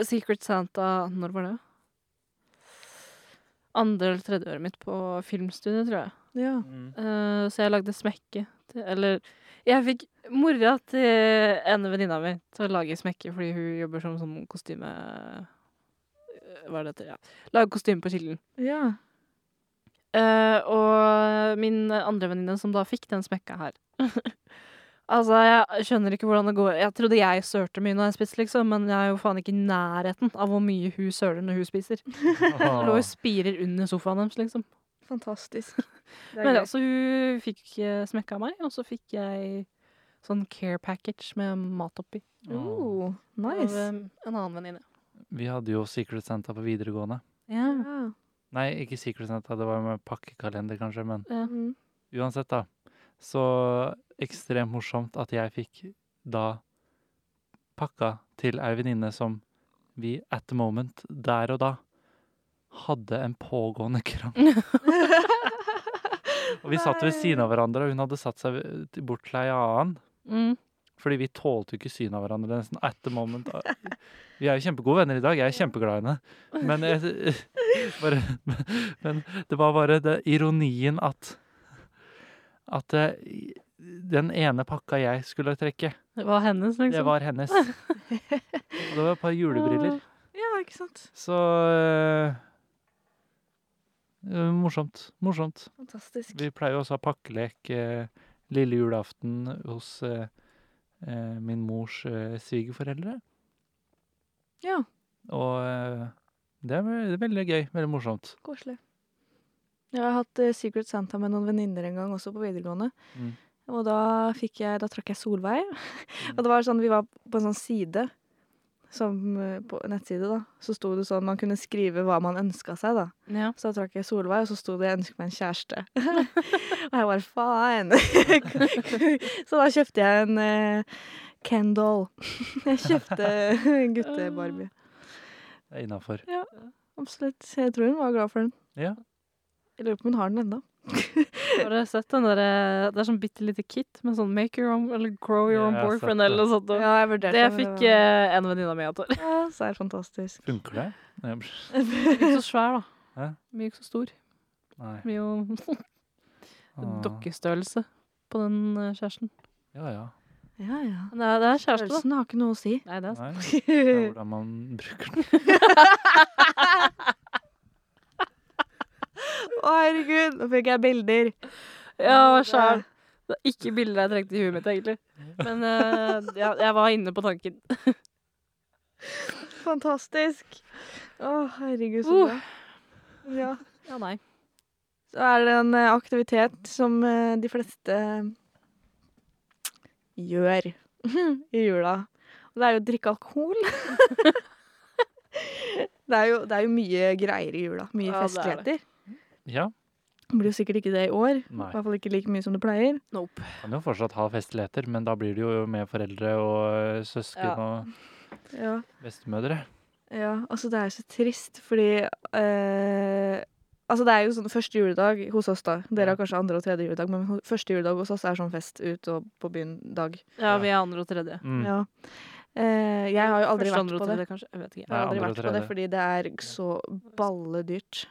S3: øh, Secret Santa Når var det? Andre eller tredje året mitt på filmstudiet, tror jeg.
S1: Ja.
S2: Mm.
S3: Eh, så jeg lagde smekke. til- Eller jeg fikk mora til ene venninna mi til å lage smekke, fordi hun jobber som sånn kostyme... eh, Hva er det heter? Ja. Lage kostyme på Kilden.
S1: ja.
S3: Eh, og min andre venninne som da fikk den smekka her. altså, jeg skjønner ikke hvordan det går. Jeg trodde jeg sølte mye når jeg spiste, liksom, men jeg er jo faen ikke i nærheten av hvor mye hun søler når hun spiser. Jeg lå og
S2: Åh.
S3: spirer under sofaen deres, liksom.
S1: Fantastisk. Det er
S3: Men
S1: gøy.
S3: ja, så hun fikk eh, smekka av meg, og så fikk jeg sånn care package med mat oppi.
S1: Oh,
S3: Av eh,
S1: nice.
S3: en annen venninne.
S2: Vi hadde jo Secret Santa på videregående.
S3: Ja.
S1: Ja.
S2: Nei, ikke Secret Santa, det var jo med pakkekalender, kanskje, men
S1: Mhm.
S2: uansett, da. Så ekstremt morsomt at jeg fikk da pakka til ei venninne som vi at the moment, der og da, hadde en pågående krangel. og vi satt ved siden av hverandre, og hun hadde satt seg ved- bort til ei annen.
S3: Mm.
S2: Fordi vi tålte jo ikke synet av hverandre. nesten at the moment. Vi er jo kjempegode venner i dag. Jeg er kjempeglad i henne. Men, jeg, bare, men det var bare det, ironien at At eh, den ene pakka jeg skulle trekke,
S3: Det var hennes, liksom.
S2: det var hennes. Og det var et par julebriller.
S1: ja, ikke sant.
S2: Så eh, Morsomt. Morsomt.
S1: Fantastisk.
S2: Vi pleier jo også å ha pakkelek eh, lille julaften hos eh, eh, min mors eh, svigerforeldre.
S1: Ja.
S2: Og eh, det er ve- veldig gøy. Veldig morsomt.
S1: Koselig. Jeg har hatt eh, Secret Santa med noen venninner en gang, også på videregående.
S2: Mm.
S1: Og da fikk jeg, da trakk jeg Solveig. og det var sånn, vi var på en sånn side, som, eh, på en nettside da, så sto det sånn, man kunne skrive hva man ønsket seg da.
S3: Ja.
S1: Så da trakk jeg Solveig, og så sto det 'jeg ønsker meg en kjæreste'. og jeg var faen! så da kjøpte jeg en eh, Kendall. jeg kjøpte gutte-Barbie.
S2: Det er innafor.
S1: Absolutt. Jeg tror hun var glad for den.
S2: Ja.
S1: Jeg lurer på om hun har den ennå.
S3: Har dere sett den der eh, Det er sånn bitte lite kit med sånn make your own eller grow your
S2: Ja,
S3: own
S2: jeg har sett
S3: boyfriend
S2: det.
S3: eller noe sånt. og-
S1: Ja, jeg vurderte
S3: det
S1: men
S3: fikk
S1: var-
S3: eh, en venninne av meg at det
S1: Ja, så er det fantastisk.
S2: Funker det? Nei,
S3: var ikke så svær, da.
S2: Hæ?
S3: Den var ikke så stor.
S2: Nei.
S3: Mye jo
S2: Ah,
S3: dokkestørrelse på den eh, kjæresten.
S2: Ja, ja.
S1: Ja, ja.
S3: Men Det er, det er kjæreste, da.
S1: Følelsen har ikke noe å si.
S3: Nei, det er
S2: Nei. Det er
S1: ja,
S2: hvordan man bruker den.
S1: Å, herregud, nå fikk jeg bilder.
S3: Ja, sjæl. Det er ikke bilder jeg trengte i huet mitt, egentlig. Men eh, ja, jeg var inne på tanken.
S1: Fantastisk. Å, herregud, så
S3: Uh.
S1: bra. Ja.
S3: Ja, nei.
S1: Så er det en eh, aktivitet som eh, de fleste gjør i jula. Og det er jo å drikke alkohol. det, er jo, det er jo mye greier i jula. Mye
S3: Ja, det er det.
S1: festligheter.
S2: Ja,
S1: Det blir jo sikkert ikke det i år.
S2: nei.
S1: I hvert fall ikke like mye som det pleier.
S3: Nope.
S2: Kan jo fortsatt ha festligheter, men da blir det jo med foreldre og eh, søsken
S3: Ja.
S2: og bestemødre.
S1: Ja, altså det er så trist, fordi eh, Altså det er jo sånn første juledag hos oss, da. Dere
S2: Ja.
S1: har kanskje andre og tredje juledag, men ho- første juledag hos oss er sånn fest ut og på byen dag.
S3: Ja,
S2: Ja.
S3: vi er andre og tredje.
S2: Mm.
S1: Ja. Eh, jeg har jo aldri
S3: Første,
S1: vært
S3: andre og
S1: på det.
S3: tredje, kanskje. Jeg vet
S1: Jeg
S3: ikke.
S2: Ja.
S1: har aldri
S2: andre og
S1: vært på det
S2: tredje.
S1: fordi det er så balledyrt.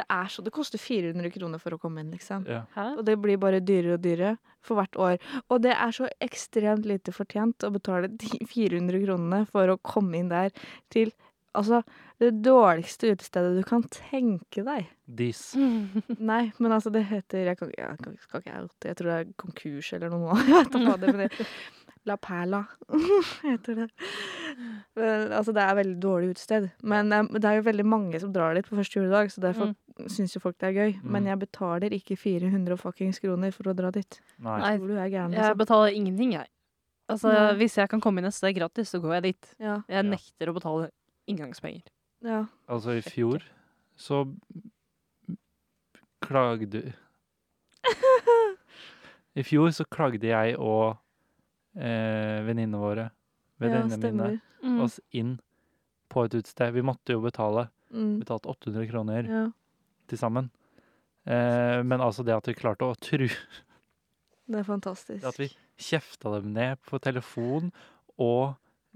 S1: Det er så Det koster 400 kroner for å komme inn, liksom.
S2: Ja.
S3: Hæ?
S1: Og det blir bare dyrere og dyrere for hvert år. Og det er så ekstremt lite fortjent å betale de 400 kronene for å komme inn der til altså det dårligste utestedet du kan tenke deg.
S2: Dis.
S1: Mm. Nei, men altså det heter Jeg, kan, jeg kan- skal ikke oute, jeg tror det er konkurs eller noe nå. Jeg vet da fader, men det La Perla heter det. Men, altså det er et veldig dårlig utested. Men eh, det er jo veldig mange som drar dit på første juledag, så derfor syns jo folk det er gøy. Men
S2: Mm.
S1: jeg betaler ikke 400 fuckings kroner for å dra dit.
S2: Nei.
S3: Nei,
S1: Tror du jeg er gæren,
S3: jeg
S1: liksom?
S3: betaler ingenting, jeg. Altså,
S1: Nei.
S3: Hvis jeg kan komme inn et sted gratis, så går jeg dit.
S1: Ja.
S2: Ja.
S3: Jeg nekter å betale inngangspenger.
S1: ja.
S2: Altså, i fjor så klagde I fjor så klagde jeg og eh, venninnene våre, venninnene mine,
S1: stemmer.
S3: Mm.
S2: oss inn på et utested. Vi måtte jo betale.
S1: Mm.
S2: Betalt 800 kroner
S1: Ja.
S2: til sammen. Eh, men altså det at vi klarte å tru
S1: Det er fantastisk.
S2: At vi kjefta dem ned på telefon og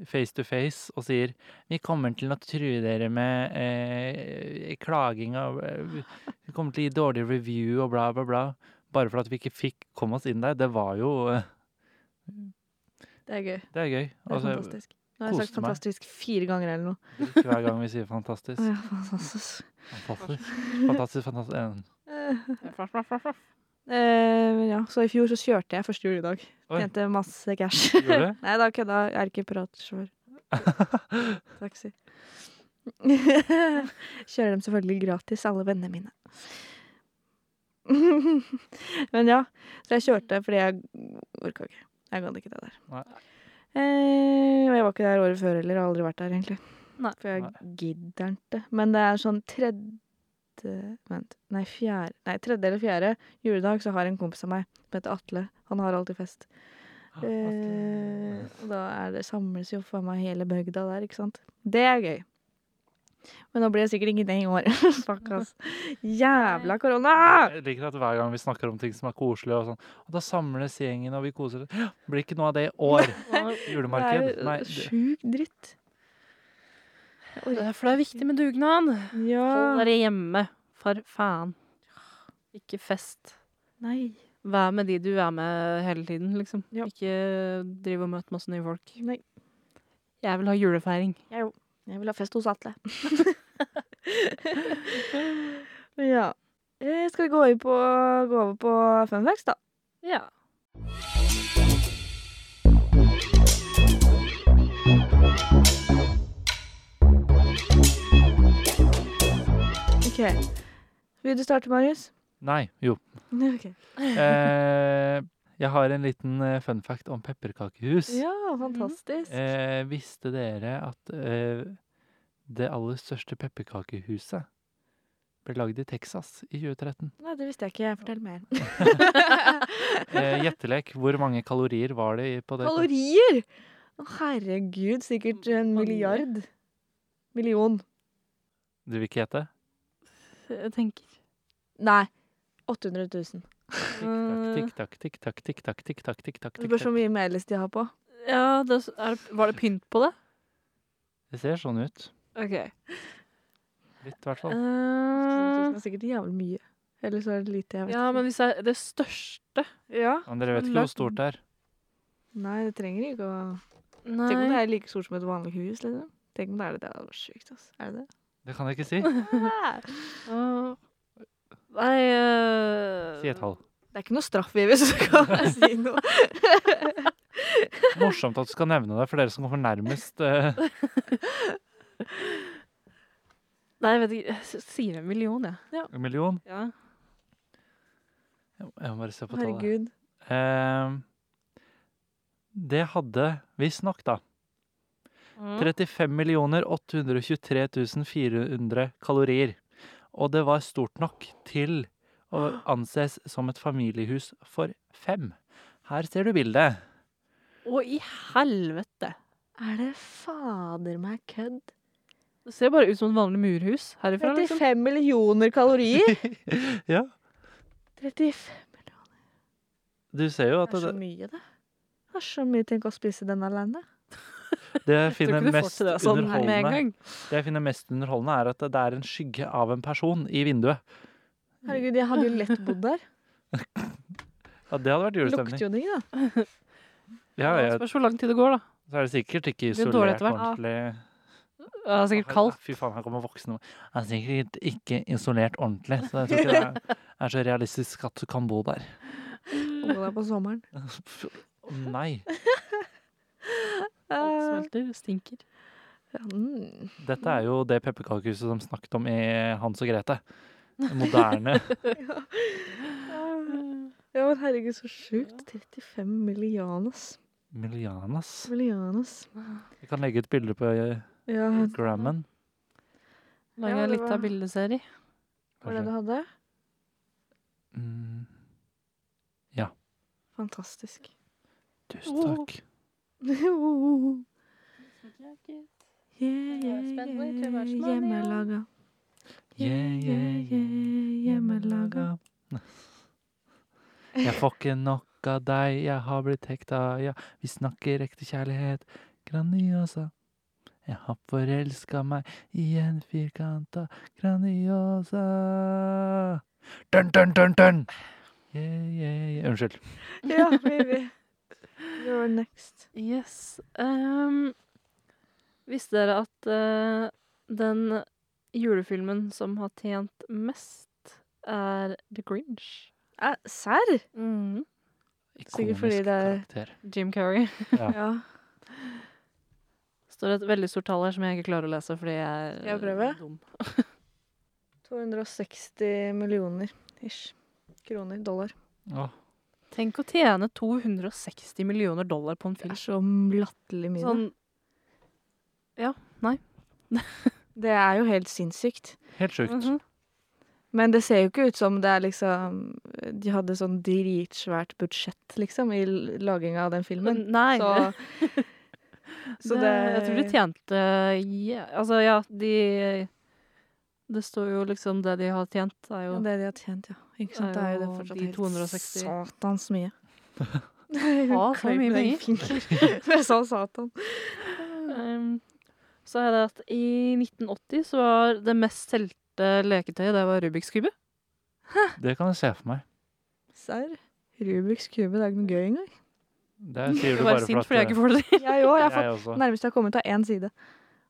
S2: face to face og sier Vi kommer til å true dere med eh, klaging og eh, Vi kommer til å gi dårlig review og bla, bla, bla. Bare for at vi ikke fikk komme oss inn der. Det var jo eh,
S1: Det er gøy.
S2: Det er gøy.
S1: Det er
S2: Altså,
S1: fantastisk. Nå har jeg sagt
S2: koste meg.
S1: fantastisk fire ganger eller noe.
S2: drikk hver gang vi sier fantastisk.
S1: Ja, altså, fantastisk.
S2: Fantastisk, fantastisk. fantastisk. Eh,
S1: Eh,
S3: Mm.
S1: eh, men ja, så i fjor så kjørte jeg første juledag.
S2: Oi.
S1: Tjente masse cash.
S2: Gjorde du?
S1: Nei, da kødda. Jeg er ikke piratsjåfør. Taxi. Kjører dem selvfølgelig gratis, alle vennene mine. Men ja, så jeg kjørte fordi jeg orka ikke. Jeg gadd ikke det der.
S2: Nei.
S1: Eh, og jeg var ikke der året før heller. Jeg har aldri vært der, egentlig.
S3: Nei.
S1: For jeg
S2: Nei.
S1: gidder ikke. Men det er sånn tredje Vent. Nei, fjerde Nei, tredje eller fjerde juledag så har en kompis av meg som heter Atle. Han har alltid fest.
S2: Ah,
S1: Eh, og da er det, samles jo for meg hele bygda der, ikke sant. Det er gøy. Men nå blir det sikkert ingenting i år. Fuck, ass. Jævla korona!
S2: Ah! Jeg liker at hver gang vi snakker om ting som er koselig, og sånn, og da samles gjengen og vi koser oss. «Hå, Blir ikke noe av det i år.
S1: Det er
S2: Julemarked. Nei,
S1: jo
S2: det-
S1: sjuk dritt. Jeg
S3: Det
S1: orker
S3: er- For det er viktig med dugnad.
S1: ikke.
S3: Hold
S1: Ja.
S3: dere hjemme, for faen. Ikke fest.
S1: Nei.
S3: Vær med de du er med hele tiden, liksom.
S1: Ja.
S3: Ikke driv og møt masse nye folk.
S1: Nei.
S3: Jeg vil ha julefeiring.
S1: Jeg vil ha fest hos Atle. ja. Eh, Skal vi gå over på, gå over på fun facts, da?
S3: Ja.
S1: Ok. Vil du starte, Marius?
S2: Nei, jo.
S1: Ok.
S2: Eh, jeg har en liten eh, fun fact om pepperkakehus.
S1: Ja, fantastisk.
S2: Eh, visste dere at eh, det aller største pepperkakehuset ble lagd i Texas i 2013?
S1: Nei, det visste jeg ikke. Fortell mer.
S2: Eh, Gjettelek. Hvor mange kalorier var det i- på det?
S1: Kalorier! Å, herregud, sikkert en
S3: Mange.
S1: milliard. Million.
S2: Du vil ikke gjette?
S3: Jeg tenker
S1: Nei. 800 000.
S2: Tikk-takk, tikk-takk, tikk-takk, tikk-takk. tikk-takk,
S1: Mm. Det bør så
S2: tikk-takk.
S1: mye melis de har på.
S3: Ja, det, er, var det pynt på det?
S2: Det ser sånn ut.
S3: OK.
S2: Litt, i hvert fall.
S1: 800
S3: Eh,
S1: 000 er sikkert jævlig mye. Eller så er det lite, jeg vet
S3: ja, men hvis det er det største
S1: ikke. Ja.
S2: Men dere vet ikke
S3: Lagd-
S2: hvor stort det er.
S1: Nei, det trenger ikke å Tenk om det
S3: Nei.
S1: er like stort som et vanlig hus, liksom. Tenk om det er det. Det hadde vært sjukt, ass. Er det det?
S2: Det kan jeg ikke si.
S1: det
S3: Åh. Nei eh,
S2: Si et tall.
S1: er ikke noe straff, Vivi, så du kan si noe.
S2: Morsomt at du skal nevne det for dere som kommer nærmest. eh,
S3: Nei, jeg vet ikke. Jeg s- sier en million, jeg.
S2: En million?
S3: Ja.
S2: Jeg må- Jeg må bare se på tallet.
S1: Herregud.
S2: Ehm, det hadde visstnok, da, 35 823 400 kalorier. Og det var stort nok til å anses som et familiehus for fem. Her ser du bildet.
S3: Å, i helvete!
S1: Er det fader meg kødd?
S3: Det ser bare ut som et vanlig murhus herifra. liksom.
S1: 35 millioner kalorier!
S2: Ja.
S1: 35 millioner.
S2: Du ser jo
S1: Det
S2: at
S1: er så
S2: det,
S1: mye, det. Det er så mye tenk å spise den alene.
S2: det
S3: Jeg
S2: jeg
S3: tror
S2: finner
S3: ikke du får
S2: mest
S3: til det sånn her med en
S2: underholdende
S3: gang.
S2: Det jeg finner mest underholdende, er at det er en skygge av en person i vinduet.
S1: Herregud, jeg hadde jo lett bodd der.
S2: Ja, det hadde vært
S1: Det
S2: julestemning.
S1: lukter jo digg, da.
S2: Ja,
S3: Det
S2: ja,
S3: spørs hvor lang tid det går, da.
S2: så er det sikkert ikke
S3: blir jo
S2: isolert
S3: dårlig etter hvert.
S2: ordentlig.
S3: Det er sikkert kaldt.
S2: Fy faen, her kommer voksne. Det er sikkert ikke isolert ordentlig, så jeg tror ikke det er- er så realistisk at du kan bo der.
S1: Gå der på sommeren.
S2: Å, Nei.
S3: Alt
S1: Eh,
S3: smelter, stinker.
S1: ja, mm.
S2: Dette er jo det pepperkakehuset som snakket om i Hans og Grete. Det Moderne.
S1: Ja, men herregud, så sjukt. 35 millianas.
S2: Milianas.
S1: Millianas.
S2: Vi kan legge ut bilde på
S1: Ja,
S2: Grammen.
S3: Lager
S1: Ja, det
S3: litt
S1: var-
S3: av bildeserie.
S1: var det det du hadde?
S2: Mm,
S1: Fantastisk.
S2: tusen takk.
S1: Oh, yeah, yeah,
S3: Jeg er spent på
S1: yeah,
S3: too much money, ja.
S1: hjemmelaga.
S2: Yeah, yeah, yeah,
S1: Hjemmelaga.
S2: hjemmelaga. Jeg får ikke nok av deg, jeg har blitt hekta, ja, vi snakker ekte kjærlighet. Graniosa. Jeg har forelska meg i en firkanta Graniosa. Dun, dun, dun, dun. Yeah, yeah, yeah. Unnskyld.
S1: Ja, baby. You're next.
S3: Yes. ehm, visste dere at eh, den julefilmen som har tjent mest, er The Grinch?
S1: Eh, Serr?
S3: Mm.
S1: Sikkert
S2: Ikonisk
S1: fordi det er-
S2: karakter.
S3: Jim Carrey.
S2: Ja.
S1: Ja.
S3: står et veldig stort tall her som jeg ikke klarer å lese fordi jeg er
S1: Skal jeg prøve?
S3: dum.
S1: 260 millioner ish. Kroner. Dollar.
S2: Åh,
S3: Tenk å tjene 260 millioner dollar på en
S1: Det
S3: film.
S1: er så latterlig mye.
S3: Sånn,
S1: Det er jo helt sinnssykt.
S2: helt sjukt.
S3: mhm.
S1: Men det ser jo ikke ut som det er liksom De hadde sånn dritsvært budsjett, liksom, i l- laginga av den filmen.
S3: Nei,
S1: Så, så det,
S3: Jeg tror de tjente ja, Altså, ja, de Det står jo liksom det de har tjent, er jo
S1: Ja, det de har tjent, ja. Ikke sant? Det er jo det fortsatt
S3: de
S1: helt
S3: 260.
S1: satans mye.
S3: Ja, så mye penger.
S1: Jeg sa satan.
S3: Ehm, Så er det at i 1980 så var det mest solgte leketøyet, det var Rubiks kube.
S2: Det kan jeg se for meg.
S1: Serr? Rubiks kube, det er ikke noe gøy engang.
S2: Det sier
S3: Jeg
S2: du
S3: var
S2: bare
S3: sint
S2: for
S3: fordi jeg
S2: at eh,
S3: ikke får det til.
S1: Jeg òg. Jeg har
S2: jeg
S1: fått
S2: også.
S1: nærmest jeg har kommet av én side.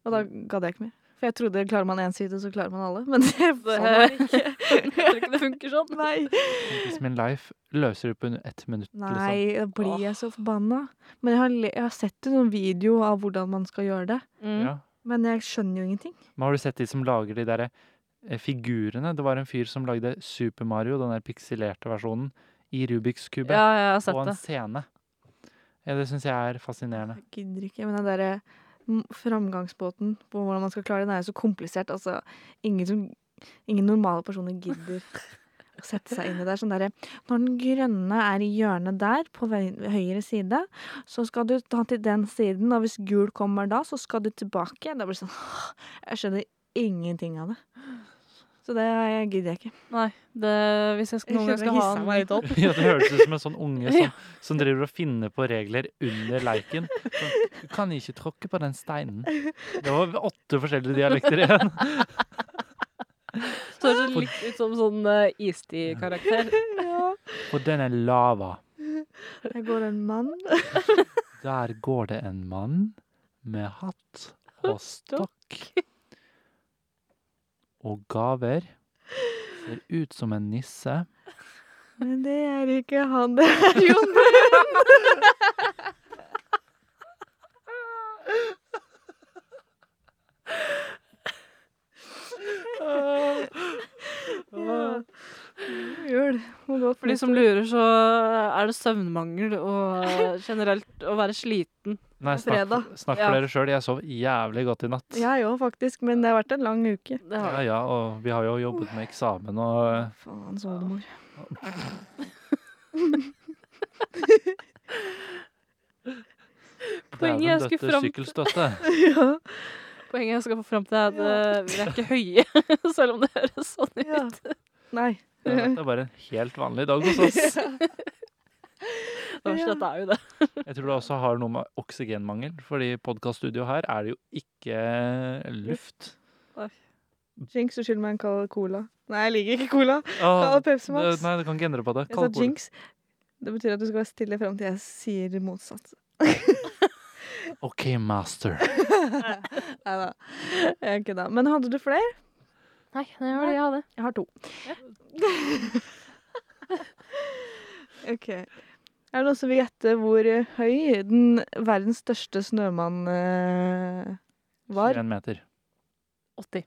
S1: Og da gadd jeg ikke mer. For jeg trodde klarer man én side, så klarer man alle. Men det, sånn var det ikke.
S3: Jeg tror ikke det funker sånn.
S1: Nei.
S2: Hvis min life løser det på under ett minutt, liksom.
S1: Nei, da blir jeg så forbanna. Men jeg har, le- jeg har sett en sånn video av hvordan man skal gjøre det.
S3: Mm.
S2: Ja.
S1: Men jeg skjønner jo ingenting.
S2: Men har du sett de som lager de der eh, figurene? Det var en fyr som lagde Super Mario, den der pikselerte versjonen, i Rubiks kube.
S3: Ja, jeg har
S2: på
S3: sett
S2: en
S3: det.
S2: scene. Ja, det syns jeg er fascinerende.
S1: Jeg gidder ikke. Men den derre mm, framgangsmåten på hvordan man skal klare det, den er jo så komplisert. Altså, ingen, som, ingen normale personer gidder å sette seg inn i det. Det er Sånn derre Når den grønne er i hjørnet der, på vei- høyre side, så skal du ta til den siden, og hvis gul kommer da, så skal du tilbake. Det blir det sånn Jeg skjønner ingenting av det. Så det gidder jeg ikke.
S3: Nei, det, hvis jeg skal, noen gang skal ha en
S1: meg litt opp.
S2: Ja, det høres ut som en sånn unge som, som driver og finner på regler under leiken. Sånn, Du kan ikke tråkke på den steinen. Det var åtte forskjellige dialekter igjen.
S3: Så høres det litt ut som sånn uh, istid-karakter.
S1: Ja.
S2: Og den er lava.
S1: Der går en mann.
S2: Der går det en mann med hatt og stokk. Og gaver. Ser ut som en nisse.
S1: Men det er ikke han, det er Jon Brun. Ja. Jul. Må gå
S3: For de som lurer, så er det søvnmangel og eh, generelt å være sliten.
S2: Nei, snakk,
S1: Fredag.
S2: snakk
S3: Ja.
S2: for dere sjøl. Jeg sov jævlig godt i natt.
S1: Jeg òg, faktisk. Men det har vært en lang uke.
S3: Det har
S2: Ja,
S3: jeg.
S2: ja, og vi har jo jobbet med eksamen og eh,
S1: Faen, oldemor.
S3: Poenget er
S2: Dæven
S3: jeg skulle
S2: døtte
S3: fram-
S2: sykkelstøtte.
S1: ja.
S3: Poenget jeg skal få fram til, er at eh, vi er ikke høye, selv om det høres sånn ut.
S1: ja. Nei.
S2: Ja, Det er bare en helt vanlig dag hos oss.
S3: Det
S1: Ja.
S3: verste er at det er jo det.
S2: Jeg tror det også har noe med oksygenmangel, fordi i podcaststudioet her er det jo ikke luft.
S1: Jinx, skyld meg en kald cola. Nei, jeg liker ikke cola.
S2: Ah,
S1: Kald Pepsi
S2: det,
S1: Max.
S2: nei, du kan ikke endre på det.
S1: Jeg sa
S2: Kall cola.
S1: jinx. Det betyr at du skal være stille fram til jeg sier motsatt.
S2: OK, master.
S1: Nei da. Jeg kødda. Men hadde du flere?
S3: Nei, det var det jeg hadde.
S1: Jeg har to.
S3: Ja.
S1: OK. Er det noen som vil gjette hvor eh, høy den verdens største snømann eh, var?
S2: 21 meter.
S3: 80.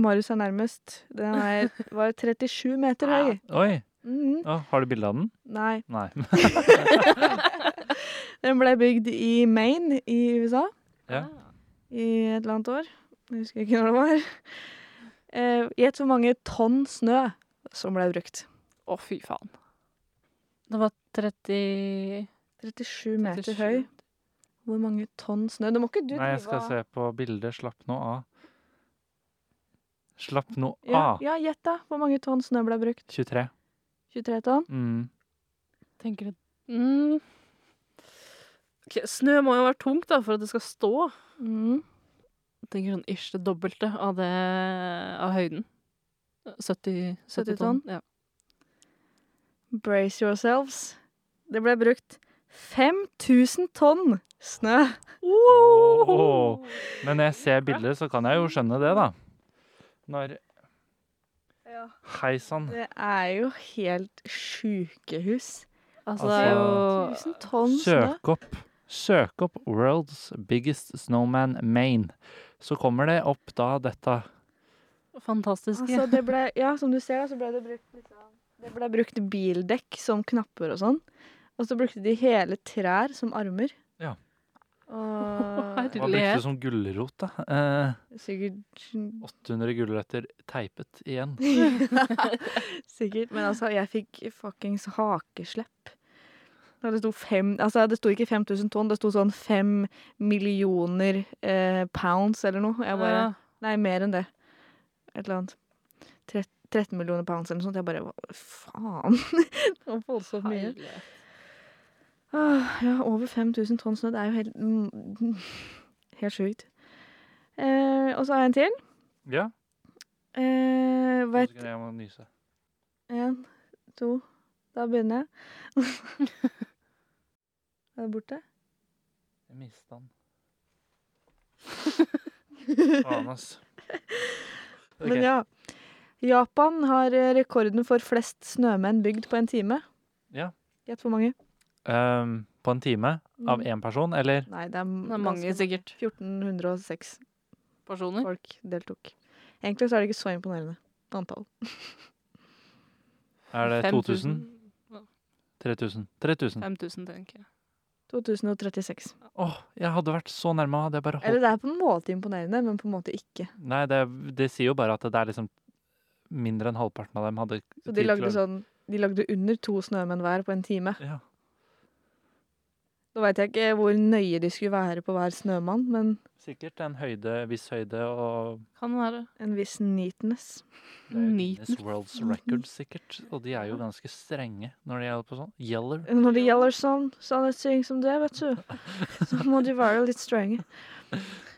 S1: Marius er nærmest. Den er, var 37 meter høy.
S2: Oi!
S1: Mhm.
S2: Å, har du bilde av den?
S1: Nei.
S2: Nei.
S1: Den ble bygd i Maine i USA
S2: Ja.
S1: i et eller annet år. Jeg husker ikke når det var. Eh, Gjett hvor mange tonn snø som ble brukt.
S3: Å, fy faen. Det var 30
S1: 37 meter
S3: 37.
S1: høy. Hvor mange tonn snø? Det må ikke du
S2: Nei, jeg
S1: drive
S2: skal
S1: av.
S2: se på bildet. Slapp nå av. Slapp nå
S1: Ja,
S2: av.
S1: ja, gjett da. Hvor mange tonn snø ble brukt?
S2: 23.
S1: 23 tonn?
S2: Mm.
S3: Tenker du mm. Ok, Snø må jo være tungt da, for at det skal stå.
S1: Mm.
S3: Tenker sånn ish det dobbelte av, det, av høyden. 70, 70 tonn. Ja.
S1: Brace yourselves. Det ble brukt 5000 tonn snø.
S2: Åh. Men når jeg ser bilder, så kan jeg jo skjønne det, da. Når
S1: Ja.
S2: Hei sann.
S1: Det er jo helt sjukehus.
S3: Altså, det er jo
S1: 1000 tonn snø.
S2: Søk opp. Søk opp 'World's Biggest Snowman Maine'. Så kommer det opp da dette.
S3: fantastisk.
S1: Altså, det ble, ja, som du ser, da, så ble det brukt liksom, Det ble brukt bildekk som knapper og sånn. Og så brukte de hele trær som armer.
S2: Ja.
S1: Og
S2: Hva brukte du som gulrot, da? Eh,
S1: sikkert
S2: 800 gulrøtter teipet igjen.
S1: Sikkert. Men altså, jeg fikk fuckings hakeslepp. Da Det sto, fem, altså det sto ikke 5000 tonn, det sto sånn 5 millioner eh, pounds eller noe. Jeg bare,
S3: Ja.
S1: Nei, mer enn det. Et eller annet. Tre- 13 millioner pounds eller noe sånt. Jeg bare hva Faen! det var voldsomt mye.
S3: Herlighet.
S1: Åh, ja, over 5000 tonn snø. Det er jo helt mm, Helt sjukt. Eh, og så har jeg en til.
S2: Ja.
S1: Eh,
S2: to
S1: vet
S2: sekunder, Jeg må nyse.
S1: Én, to Da begynner jeg. er det borte?
S2: Jeg mista den. Faen, ass. Ok.
S1: Men ja. Japan har eh, rekorden for flest snømenn bygd på en time.
S2: Ja.
S1: Gjett hvor mange?
S2: Ehm, på en time av
S1: Mm.
S2: én person, eller?
S1: Nei, det er,
S3: Det er mange,
S1: ganske-
S3: sikkert.
S1: 1406
S3: Personer.
S1: folk deltok. Egentlig så er det ikke så imponerende antall.
S2: Er det 2000? 3000? 3000.
S3: 5000, tenker jeg.
S1: 2036.
S2: Åh, jeg hadde vært så nærme. Hadde jeg bare
S1: Eller
S2: holdt.
S1: det er på en måte imponerende, men på en måte ikke.
S2: Nei, det, det sier jo bare at det er liksom mindre enn halvparten av dem hadde
S1: Så de lagde sånn De lagde under to snømenn hver på en time.
S2: Ja.
S1: Nå veit jeg ikke hvor nøye de skulle være på hver snømann, men
S2: Sikkert en høyde, viss høyde og
S3: Kan være.
S1: en viss neatness.
S2: det er jo Guinness
S3: Newton.
S2: World's Record, sikkert. Og de er jo ganske strenge når de holder på sånn. Yeller.
S1: Når det gjelder sånn, sånne ting som det, vet du, så må de være litt strenge.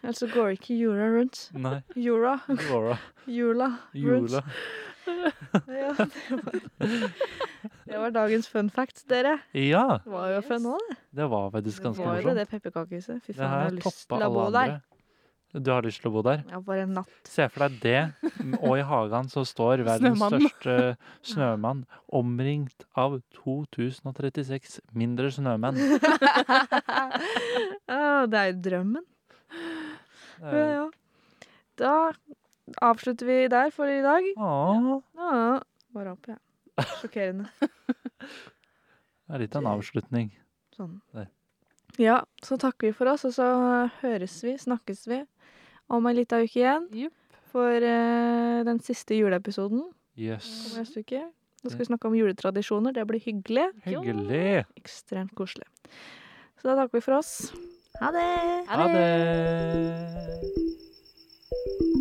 S1: Ellers så går ikke jula rundt.
S2: Nei,
S1: Jura.
S2: Laura.
S1: Jula. Rundt.
S2: Jula.
S1: Ja, det var, det var dagens fun fact, dere.
S2: Ja,
S1: Det var jo fun òg,
S2: det var faktisk ganske
S1: Var det
S2: morsomt.
S1: det pepperkakehuset? Fy
S2: Det
S1: faen, jeg
S2: her
S1: har lyst
S2: toppa
S1: til å
S2: alle
S1: bo der.
S2: andre. Du har lyst til å bo der?
S1: Ja, bare en natt.
S2: Se for deg det, og i hagen så står verdens
S3: Snømannen.
S2: største snømann omringt av 2036 mindre snømenn.
S1: Å, det er jo drømmen. Ja,
S2: Eh,
S1: ja. Da avslutter vi der for i dag.
S2: Å,
S1: Ja, bare opp, ja. Sjokkerende.
S2: det er litt av en avslutning.
S1: Sånn.
S2: Der.
S1: Ja, så takker vi for oss, og så høres vi, snakkes vi om ei lita uke igjen
S3: Jupp.
S1: for eh, den siste juleepisoden.
S2: Jøss.
S1: Kommer neste uke. Da skal vi snakke om juletradisjoner. Det blir hyggelig.
S2: Hyggelig.
S1: Ekstremt koselig. Så da takker vi for oss. Ha det!
S2: Ha det!